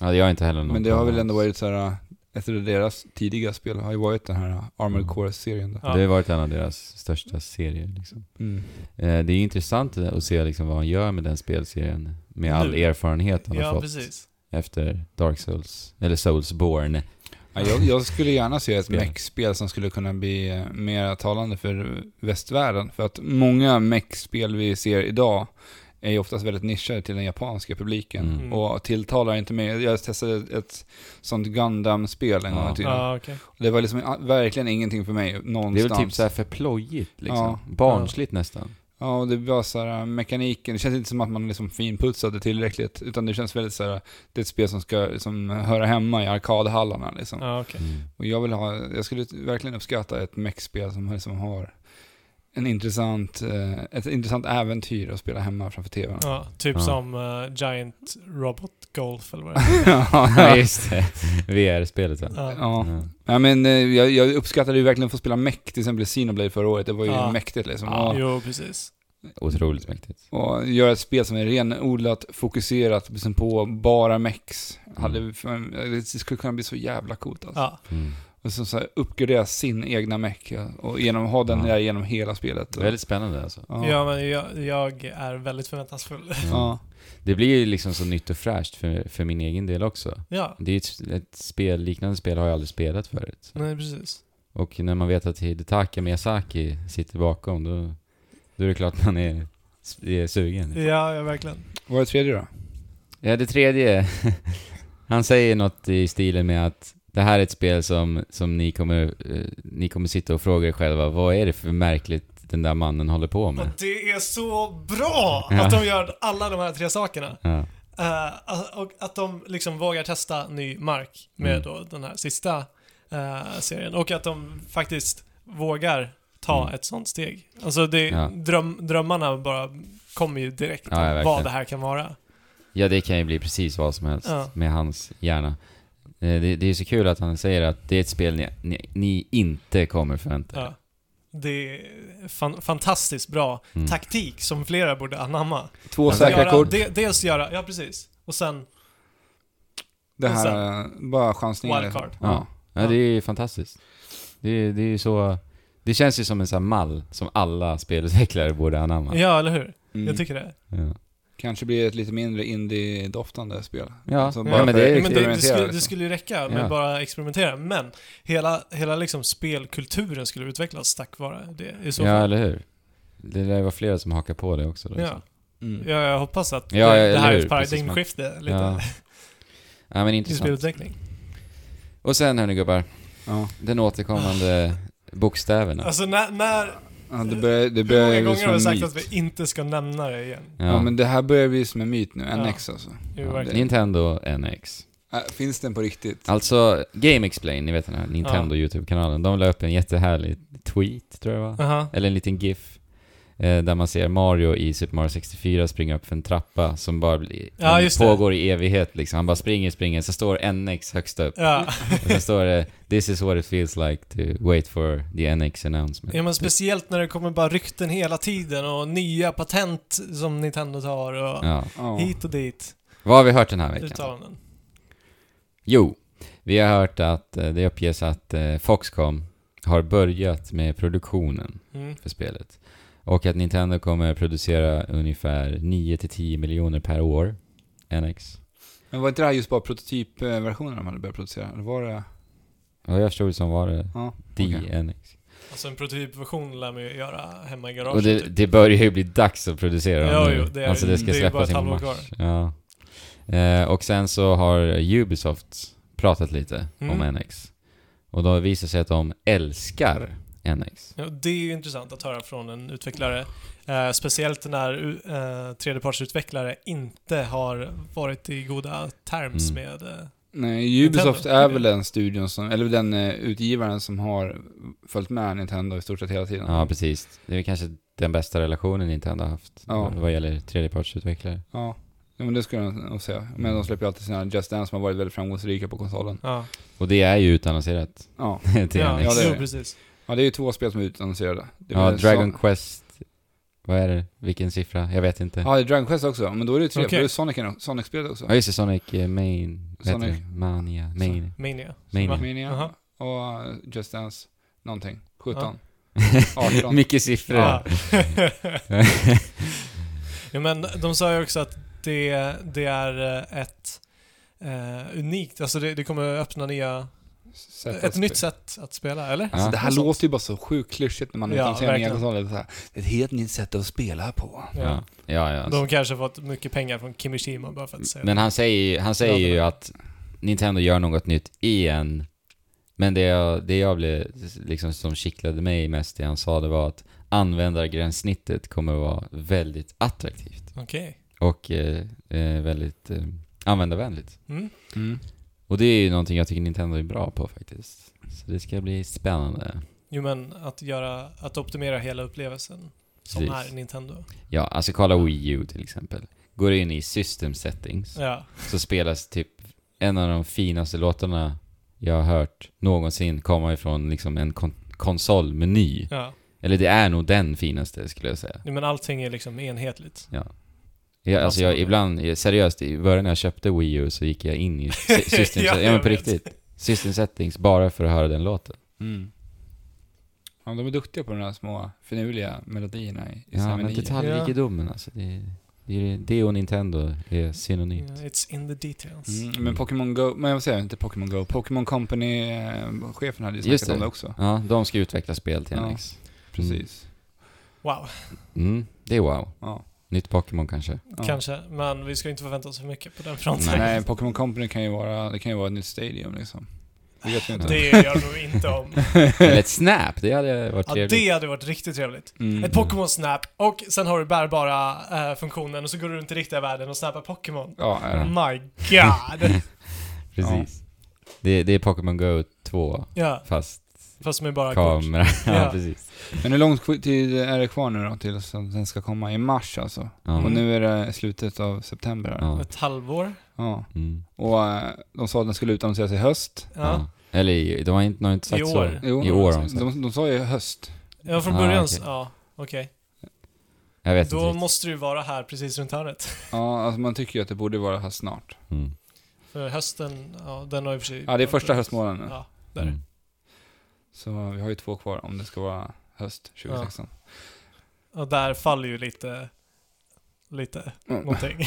Ja. ja, jag har inte heller någon
Men det har
koll
väl ändå
alls.
varit så här, eh, ett av deras tidiga spel har ju varit den här Armored
Mm.
Core-serien. då.
Ja.
Det har varit en av deras största serier. Liksom.
Mm.
Eh, det är ju intressant att se liksom, vad han gör med den spelserien. Med all
Nu.
erfarenhet han har
Ja,
fått
precis.
efter Dark Souls, eller Soulsborne.
Ja, jag, jag skulle gärna se ett
Spel.
mech-spel som skulle kunna bli eh, mer talande för västvärlden. För att många mech-spel vi ser idag är ju oftast väldigt nischade till den japanska publiken.
Mm.
Mm.
Och tilltalar inte mig. Jag testade ett sånt Gundam-spel en gång
Ja.
i tiden.
Ja, okej.
Det var liksom verkligen ingenting för mig
Det är
någonstans.
väl typ så här för plojigt liksom.
Ja.
Barnsligt nästan.
Ja, och det var så här, mekaniken, det känns inte som att man liksom finputsade tillräckligt, utan det känns väldigt så här, det är ett spel som ska liksom, höra hemma i arkadhallarna liksom.
Ja, okej.
Mm.
Och jag vill ha, jag skulle verkligen uppskatta ett mech-spel som liksom har en intressant, eh, ett intressant äventyr att spela hemma framför tvn.
Ja, typ
Ja.
som eh, Giant Robot Golf eller vad det är.
Ja,
ja,
just det. VR-spelet va?
Ja.
ja.
Ja.
ja, men eh, jag, jag uppskattade ju verkligen att få spela mech, till exempel i Xenoblade förra året, det var ju
Ja.
mäktigt liksom.
Ja.
Och-
Jo, precis.
Otroligt mäktigt.
Och göra ett spel som är renodlat, fokuserat liksom på bara mex. Hade, det skulle kunna bli så jävla coolt alltså.
Mm. Ja.
Mm.
Och så, så här, uppgradera sin egna mech ja. och genom, ha den
Ja.
där genom hela spelet. Och,
Väldigt spännande alltså.
ja.
ja, men jag, jag är väldigt förväntansfull.
Ja.
Det blir ju liksom så nytt och fräscht för, för min egen del också.
Ja,
Det är ett, ett spel, liknande spel har jag aldrig spelat förut.
nej precis.
Och när man vet att Hidetaka Miyazaki sitter bakom, då, då är det klart man är, är sugen.
Ja, ja verkligen.
Mm.
Vad är det tredje då?
Ja, det tredje. Han säger något i stilen med att det här är ett spel som, som ni, kommer, eh, ni kommer sitta och fråga er själva, vad är det för märkligt den där mannen håller på
Och
med?
det är så bra
Ja.
att de gör alla de här tre sakerna.
Ja.
Eh, och att de liksom vågar testa ny mark med
Mm.
då den här sista eh, serien. Och att de faktiskt vågar ta
Mm.
ett sånt steg. Alltså det,
Ja.
dröm, drömmarna bara kommer ju direkt om
Ja, ja,
vad
verkligen.
det här kan vara.
Ja, det kan ju bli precis vad som helst
Ja.
med hans hjärna. Eh, Det, det är så kul att han säger att det är ett spel ni, ni, ni inte kommer förvänta er.
Ja. Det är fan, fantastiskt bra
Mm.
taktik som flera borde anamma.
Två
Alltså,
säkra
göra,
kort.
de, dels göra, ja precis. Och sen
Det här, eh, bara chansningar. liksom.
Wildcard. Mm.
Ja.
Ja, det är ju fantastiskt. Det, är- det är ju så... Det känns ju som en sån här mall som alla spelutvecklare borde anamma.
Ja, eller hur?
Mm.
Jag tycker det.
Ja.
Kanske blir det ett lite mindre indie-doftande spel.
Ja.
Alltså,
Ja,
bara
men
för
det
att
är ju
Men det,
experimentera,
det, skulle,
liksom.
det skulle ju räcka med
Ja.
bara experimentera, men hela, hela liksom spelkulturen skulle utvecklas tack vare det i så
ja,
fall.
eller hur? Det lär ju vara flera som hakar på det också. Då, liksom.
Ja,
Mm.
ja, jag hoppas att
Ja,
det,
eller
det här är
hur?
ett
Precis, man-
paradigmskifte lite
ja. ja, men
i
intressant.
spelutveckling.
Och sen hörni gubbar,
Ja.
den återkommande bokstäverna.
Ah. Alltså när, när
Ja, det börjar, det
hur
börjar
många
ju
gånger
som
har vi
en
sagt
myt.
att vi inte ska nämna det igen?
Ja.
Ja. men det här börjar bli som en myt nu,
Ja.
NX alltså.
Jo,
ja,
verkligen.
Nintendo NX.
Äh, finns den på riktigt?
Alltså, Game Explain, ni vet den här Nintendo YouTube-kanalen, de la upp en jättehärlig tweet, tror jag va?
Aha.
Eller en liten GIF. Eh, där man ser Mario i Super Mario 64 springa upp för en trappa som bara blir,
Ja,
den
just det.
pågår i evighet liksom. Han bara springer, springer, så står NX högst upp.
Ja.
Och sen står det “This is what it feels like to wait for the NX announcement”.
ja, men speciellt när det kommer bara rykten hela tiden och nya patent som Nintendo tar och
Ja.
Ja.
hit och dit.
Vad har vi hört den här veckan?
Uttalanden.
Jo, vi har hört att eh, det uppges att eh, Foxcom har börjat med produktionen
Mm.
för spelet. Och att Nintendo kommer producera ungefär 9-10 miljoner per år. NX.
Men var inte det här just bara prototypversionen de hade börjat producera? Eller var det...
Ja, jag förstod det som var det
Ja, okej.
DNX.
Alltså en prototypversion lär man ju göra hemma i garaget.
Och det,
typ.
det börjar ju bli dags att producera dem
Ja,
nu.
jo, det är-
Alltså det
det
ska
är
bara ett
släppas inom
halvår
mars. Ja. Eh, och sen så har Ubisoft pratat lite
Mm.
om NX. Och då visar det sig att de älskar NX.
Ja, det är ju intressant att höra från en utvecklare. Eh, speciellt när eh, tredjepartsutvecklare inte har varit i goda terms
Mm.
med... Eh,
Nej, Ubisoft
Nintendo.
är väl den studion som, eller den eh, utgivaren som har följt med Nintendo i stort sett hela tiden.
Ja, precis. Det är kanske den bästa relationen Nintendo har haft
Ja.
vad gäller tredjepartsutvecklare.
Ja, ja men det skulle jag nog säga. Men de släpper ju alltid sina Just Dance som har varit väldigt framgångsrika på konsolen.
ja,
Och det är ju utannonserat
Ja,
till
ja,
NX.
Ja, det är
jo,
det.
precis.
ja det är ju två spel som är utannonserade. Det är
Ja,
väl
Dragon
Son-
Quest. Vad är det? Vilken siffra? Jag vet inte.
Ja, det är Dragon Quest också. Men då är det ju tre,
Okej.
för det är Sonic, Sonic-spelet också.
Ja, just det. Sonic eh, Main. Vad heter
Sonic.
det? Mania. Main.
Mania.
Mania.
Va?
Mania
Jaha.
och eh, Just Dance, någonting. 17. 18.
Mycket siffror.
Ja. ja, men de sa ju också att det, det är eh, ett eh, unikt, alltså det, det kommer öppna nya,
Sätt att
ett nytt
spela.
sätt att spela, eller?
Alltså, det här
Något sånt.
låter ju bara så sjukt klyschigt när man
Ja,
utannonserar en egen
verkligen.
konsol. Det är så här, Ett helt nytt sätt att spela på.
Ja, ja.
Alltså.
ja,
De kanske fått mycket pengar från Kimishima bara för att säga
Men han säger, han säger ju att Nintendo gör något nytt igen. Men det jag, det jag blev, liksom, som kittlade mig mest det han sa, det var att användargränssnittet kommer att vara väldigt attraktivt.
det. Okej.
Och eh, eh, väldigt eh, användarvänligt.
Mm.
Och det är ju någonting jag tycker Nintendo är bra på faktiskt. Så det ska bli spännande.
Jo men att göra, att optimera hela upplevelsen som
Precis.
är Nintendo.
Ja, alltså kolla Wii U till exempel. Går du in i system settings
Ja.
så spelas typ en av de finaste låtarna jag har hört någonsin komma ifrån liksom en kon konsolmeny.
ja.
Eller det är nog den finaste skulle jag säga.
Jo, men allting är liksom enhetligt.
Jag, alltså jag, ibland, jag- seriöst, i början när jag köpte Wii U så gick jag in i sy- system,
Ja,
ja, men på
jag vet.
riktigt. System settings bara för att höra den låten.
Mm. Ja, de är duktiga på de där små finurliga melodierna i, i
Ja,
sina
men
menyer.
detaljrikedomen alltså. Det, det, det och Nintendo är synonymt.
Ja, It's in the details.
Mm, men Pokémon Go, men jag säger inte Pokémon Go, Pokémon Company-chefen hade ju
Just
snackat om
det. Mm.
det också.
Ja, de ska utveckla spel till
Ja.
NX.
Precis.
Wow,
Mm, det är wow.
Ja.
Nytt Pokémon kanske.
Ja.
kanske. Men vi ska inte förvänta oss för mycket på den fronten.
Nej, Pokémon Company kan ju vara, det kan ju vara ett nytt stadium liksom. Det vet vi inte.
Det gör nog inte om.
Eller ett Snap, det hade varit
Ja,
trevligt.
det hade varit riktigt trevligt.
Mm.
Ett Pokémon Snap och sen har du bärbara eh, funktionen och så går du runt i riktiga världen och snappar Pokémon.
Ja, är det.
My God!
Precis. Det, det är Pokémon Go 2,
ja,
fast
fast med bara kort.
kamera. ja,
Ja.
precis.
Men hur lång tid är det kvar nu då tills att den ska komma? I mars alltså?
Ja.
Och nu är det slutet av september här. Ja.
Ja.
Ett halvår.
Mm.
Och eh, de sa att den skulle utannonseras i höst.
Ja.
ja. Eller i- de har inte, de har inte sagt
I
så.
år.
Jo.
I år alltså. har de sagt.
De, de sa ju höst.
Ja, från
Ah,
början
okej.
så- Ja, okej.
Jag vet inte
Då
riktigt.
måste du vara här precis runt hörnet.
Ja, alltså man tycker ju att det borde vara höst snart.
Mm.
För hösten, ja den har ju för sig...
Ja, det är första höstmånaden nu.
Ja, där.
Mm.
Så vi har ju två kvar om det ska vara höst 2016.
Och där faller ju lite... Lite
Mm.
någonting.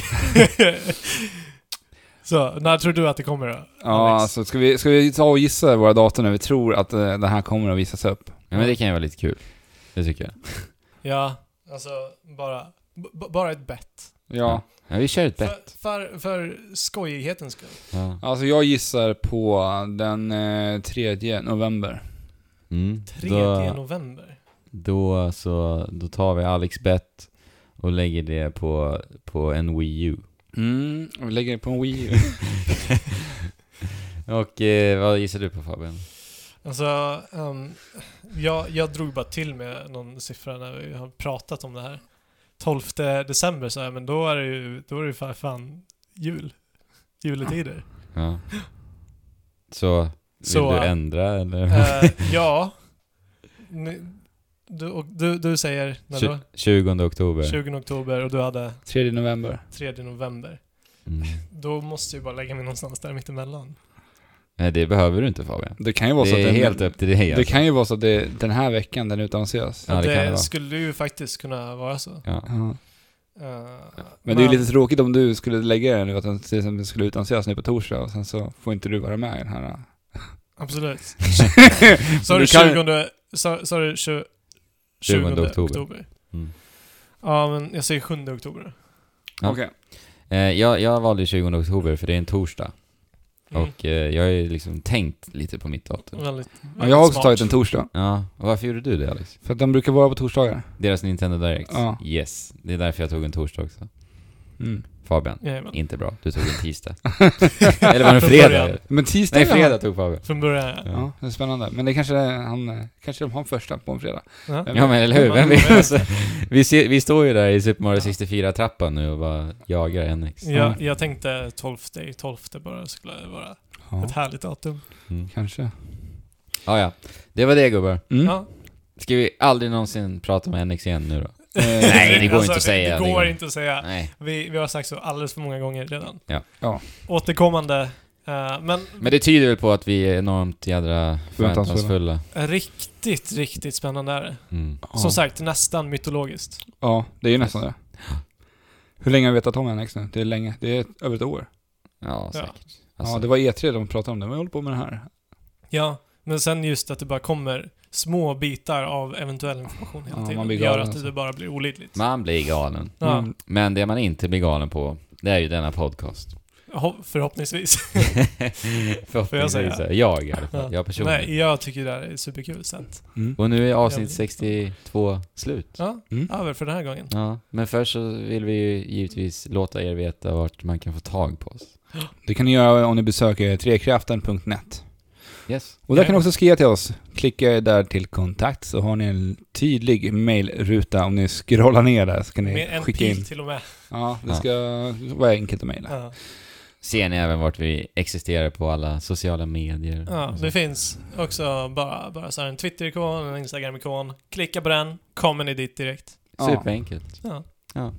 Så, när tror du att det kommer då?
Ja,
Alex?
alltså ska vi, ska vi ta och gissa våra datum när vi tror att eh, den här kommer att visas upp?
Ja, men det kan ju vara lite kul. Det tycker jag.
Ja, alltså bara... b- b- Bara ett bett.
Ja,
Ja, vi kör ett bett.
För, för, för skojighetens skull.
Ja.
alltså jag gissar på den eh, 3 november.
Mm.
3
Då-
november.
Då så, då tar vi Alex bet och lägger det på, på en Wii U.
Mm, och vi lägger det på en Wii U.
Och eh, vad gissar du på Fabian?
Alltså, ehm, jag, jag drog bara till med någon siffra när vi har pratat om det här. 12 december sa jag, men då är det ju, då är det ju fan, fan jul. Juletider.
Ja. Så, vill
Så,
du
äh,
ändra eller?
Eh, ja. Ni, du, och du, du säger när då?
Tju- 20 oktober.
20 oktober och du hade
3 november.
3 november.
Mm.
Då måste jag ju bara lägga mig någonstans där mittemellan.
Nej, det behöver du inte Fabian.
Det kan ju vara så
Det är
att
helt upp till dig
det
alltså.
kan ju vara så att det, den här veckan den utannonseras.
Ja, det kan det vara.
skulle ju faktiskt kunna vara så. Eh,
Ja.
Ja. Men det är ju lite tråkigt om du skulle lägga den nu, att den till exempel skulle utannonseras nu på torsdag och sen så får inte du vara med i den här. eh.
Absolut. Sa du
Du kan-
20... Sa sa du tju-
20
20
oktober.
oktober?
Mm.
Ja, men jag säger 7 oktober.
Ja.
Okej.
Eh, jag, jag valde 20 oktober för det är en torsdag.
Mm.
Och eh, jag har ju liksom tänkt lite på mitt datum.
Väldigt,
Ja, jag har också
smart.
tagit en torsdag.
Ja, och varför gjorde du det Alex?
För att de brukar vara på torsdagar.
Deras Nintendo Direct?
Ja.
Yes, det är därför jag tog en torsdag också.
Mm.
Fabian,
Jajamän.
inte bra. Du tog en tisdag. Eller var det en fredag?
Men tisdag
Nej, fredag tog Fabian.
Från början, ja.
Ja, det är spännande. Men det kanske är han, eh, kanske de har en första på en fredag.
Ja.
Vem
Ja
vet?
men eller hur,
Man-
vem
man
vet?
vet
Alltså, vi, ser, vi står ju där i Super Mario 64-trappan nu och bara jagar NX.
Jag, jag tänkte 12, 12 bara skulle vara ett
Ja,
härligt datum.
Mm.
kanske.
Ah, ja, det var det gubbar.
Mm.
Ja.
Ska vi aldrig någonsin prata om NX igen nu då?
Eh,
Nej, det går inte att säga.
Alltså, Det
Det
går
går-
inte att säga.
Nej.
Vi, vi har sagt så alldeles för många gånger redan.
Ja.
Ja.
Återkommande. eh, men
Men det tyder väl på att vi är enormt jädra förväntansfulla.
riktigt, riktigt spännande är det.
Mm.
ja.
Som sagt, nästan mytologiskt.
Ja, det är ju nästan det. Hur länge har vi vetat om NX nu? Det är länge. Det är ett- över ett år.
Ja,
Ja.
säkert. Alltså,
Ja, det var E3 de pratade om det. Men jag håller på med det här.
Ja, men sen just att det bara kommer små bitar av eventuell information hela
Ja,
tiden.
man blir
gör
galen
att
alltså.
det bara blir olidligt.
Man blir galen.
Ja,
Mm.
Men det man inte blir galen på, det är ju denna podcast.
ho- förhoppningsvis.
Förhoppningsvis.
säga?
Jag i alla fall. Jag personligen.
Nej, jag tycker det här är superkul sent.
Mm.
Och nu är
Jag
avsnitt
vet.
62 slut.
Ja,
Mm.
över för den här gången.
Ja, men först så vill vi ju givetvis låta er veta vart man kan få tag på oss.
Det kan ni göra om ni besöker trekraften.net.
Yes.
Och där kan ni också skriva till oss. Klicka där till kontakt så har ni en tydlig mailruta. Om ni scrollar ner där så kan ni
Med en
skicka in.
pil till och med.
Ja, det ska vara enkelt att mejla.
Ja.
Ser ni även vart vi existerar på alla sociala medier? Alltså,
Ja,
Och så.
det finns också bara, bara så här en Twitter-ikon, en Instagram-ikon. Klicka på den, kommer ni dit direkt.
Ja.
Superenkelt.
Ja.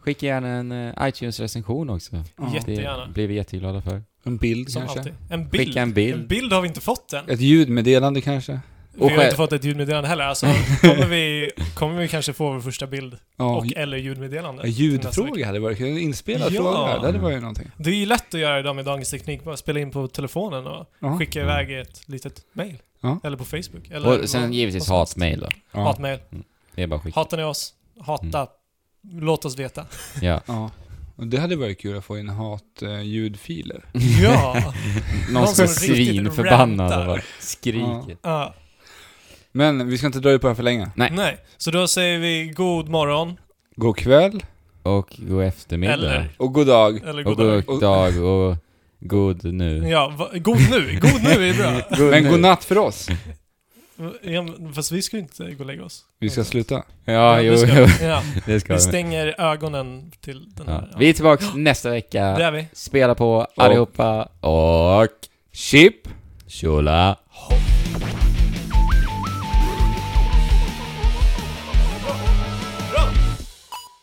Skicka gärna en eh, iTunes-recension också.
Ja.
Det
Jättegärna.
blir vi jätteglada för.
En bild
Som
kanske?
alltid. En bild.
Skicka en bild.
En bild har vi inte fått än.
Ett ljudmeddelande kanske?
Vi
Och
har
själv-
inte fått ett ljudmeddelande heller. Alltså, kommer, vi, kommer vi kanske få vår första bild
Ja,
och eller ljudmeddelande.
en
till nästa vecka.
ljudfråga hade varit kul. En inspelad
Ja.
fråga, det hade varit någonting.
Det är ju lätt att göra idag med dagens teknik. Bara spela in på telefonen och
Ja.
skicka iväg ett litet mail.
Ja.
Eller på Facebook. Eller
Och sen
vad-
givetvis
vad som helst.
hatmejl då.
Ja.
Hatmail.
Det är bara att skicka.
Hatar ni oss? Hata.
Mm.
Låt oss veta.
Ja.
ja. Och det hade varit kul att få in hat-ljudfiler.
Ja!
Någon som är
som riktigt
svinförbannad
rantar.
och bara skriker.
ja.
Men vi ska inte dra ut på det här för länge.
Nej.
Nej. Så då säger vi god morgon.
God kväll
Och god eftermiddag.
Eller,
och god dag.
eller
Och
god dag.
god dag och god nu.
Ja, va, god nu. God nu är bra.
Men god natt för oss.
Ja, men fast vi ska ju inte gå och lägga oss.
Vi ska sluta.
Ja, jo,
vi ska-
jo.
Ja,
Det ska
vi
vi.
stänger ögonen till den
Ja.
här.
Vi är tillbaka nästa
Det
vecka.
är vi.
Spela på allihopa och
Chip!
tjola.
Ho.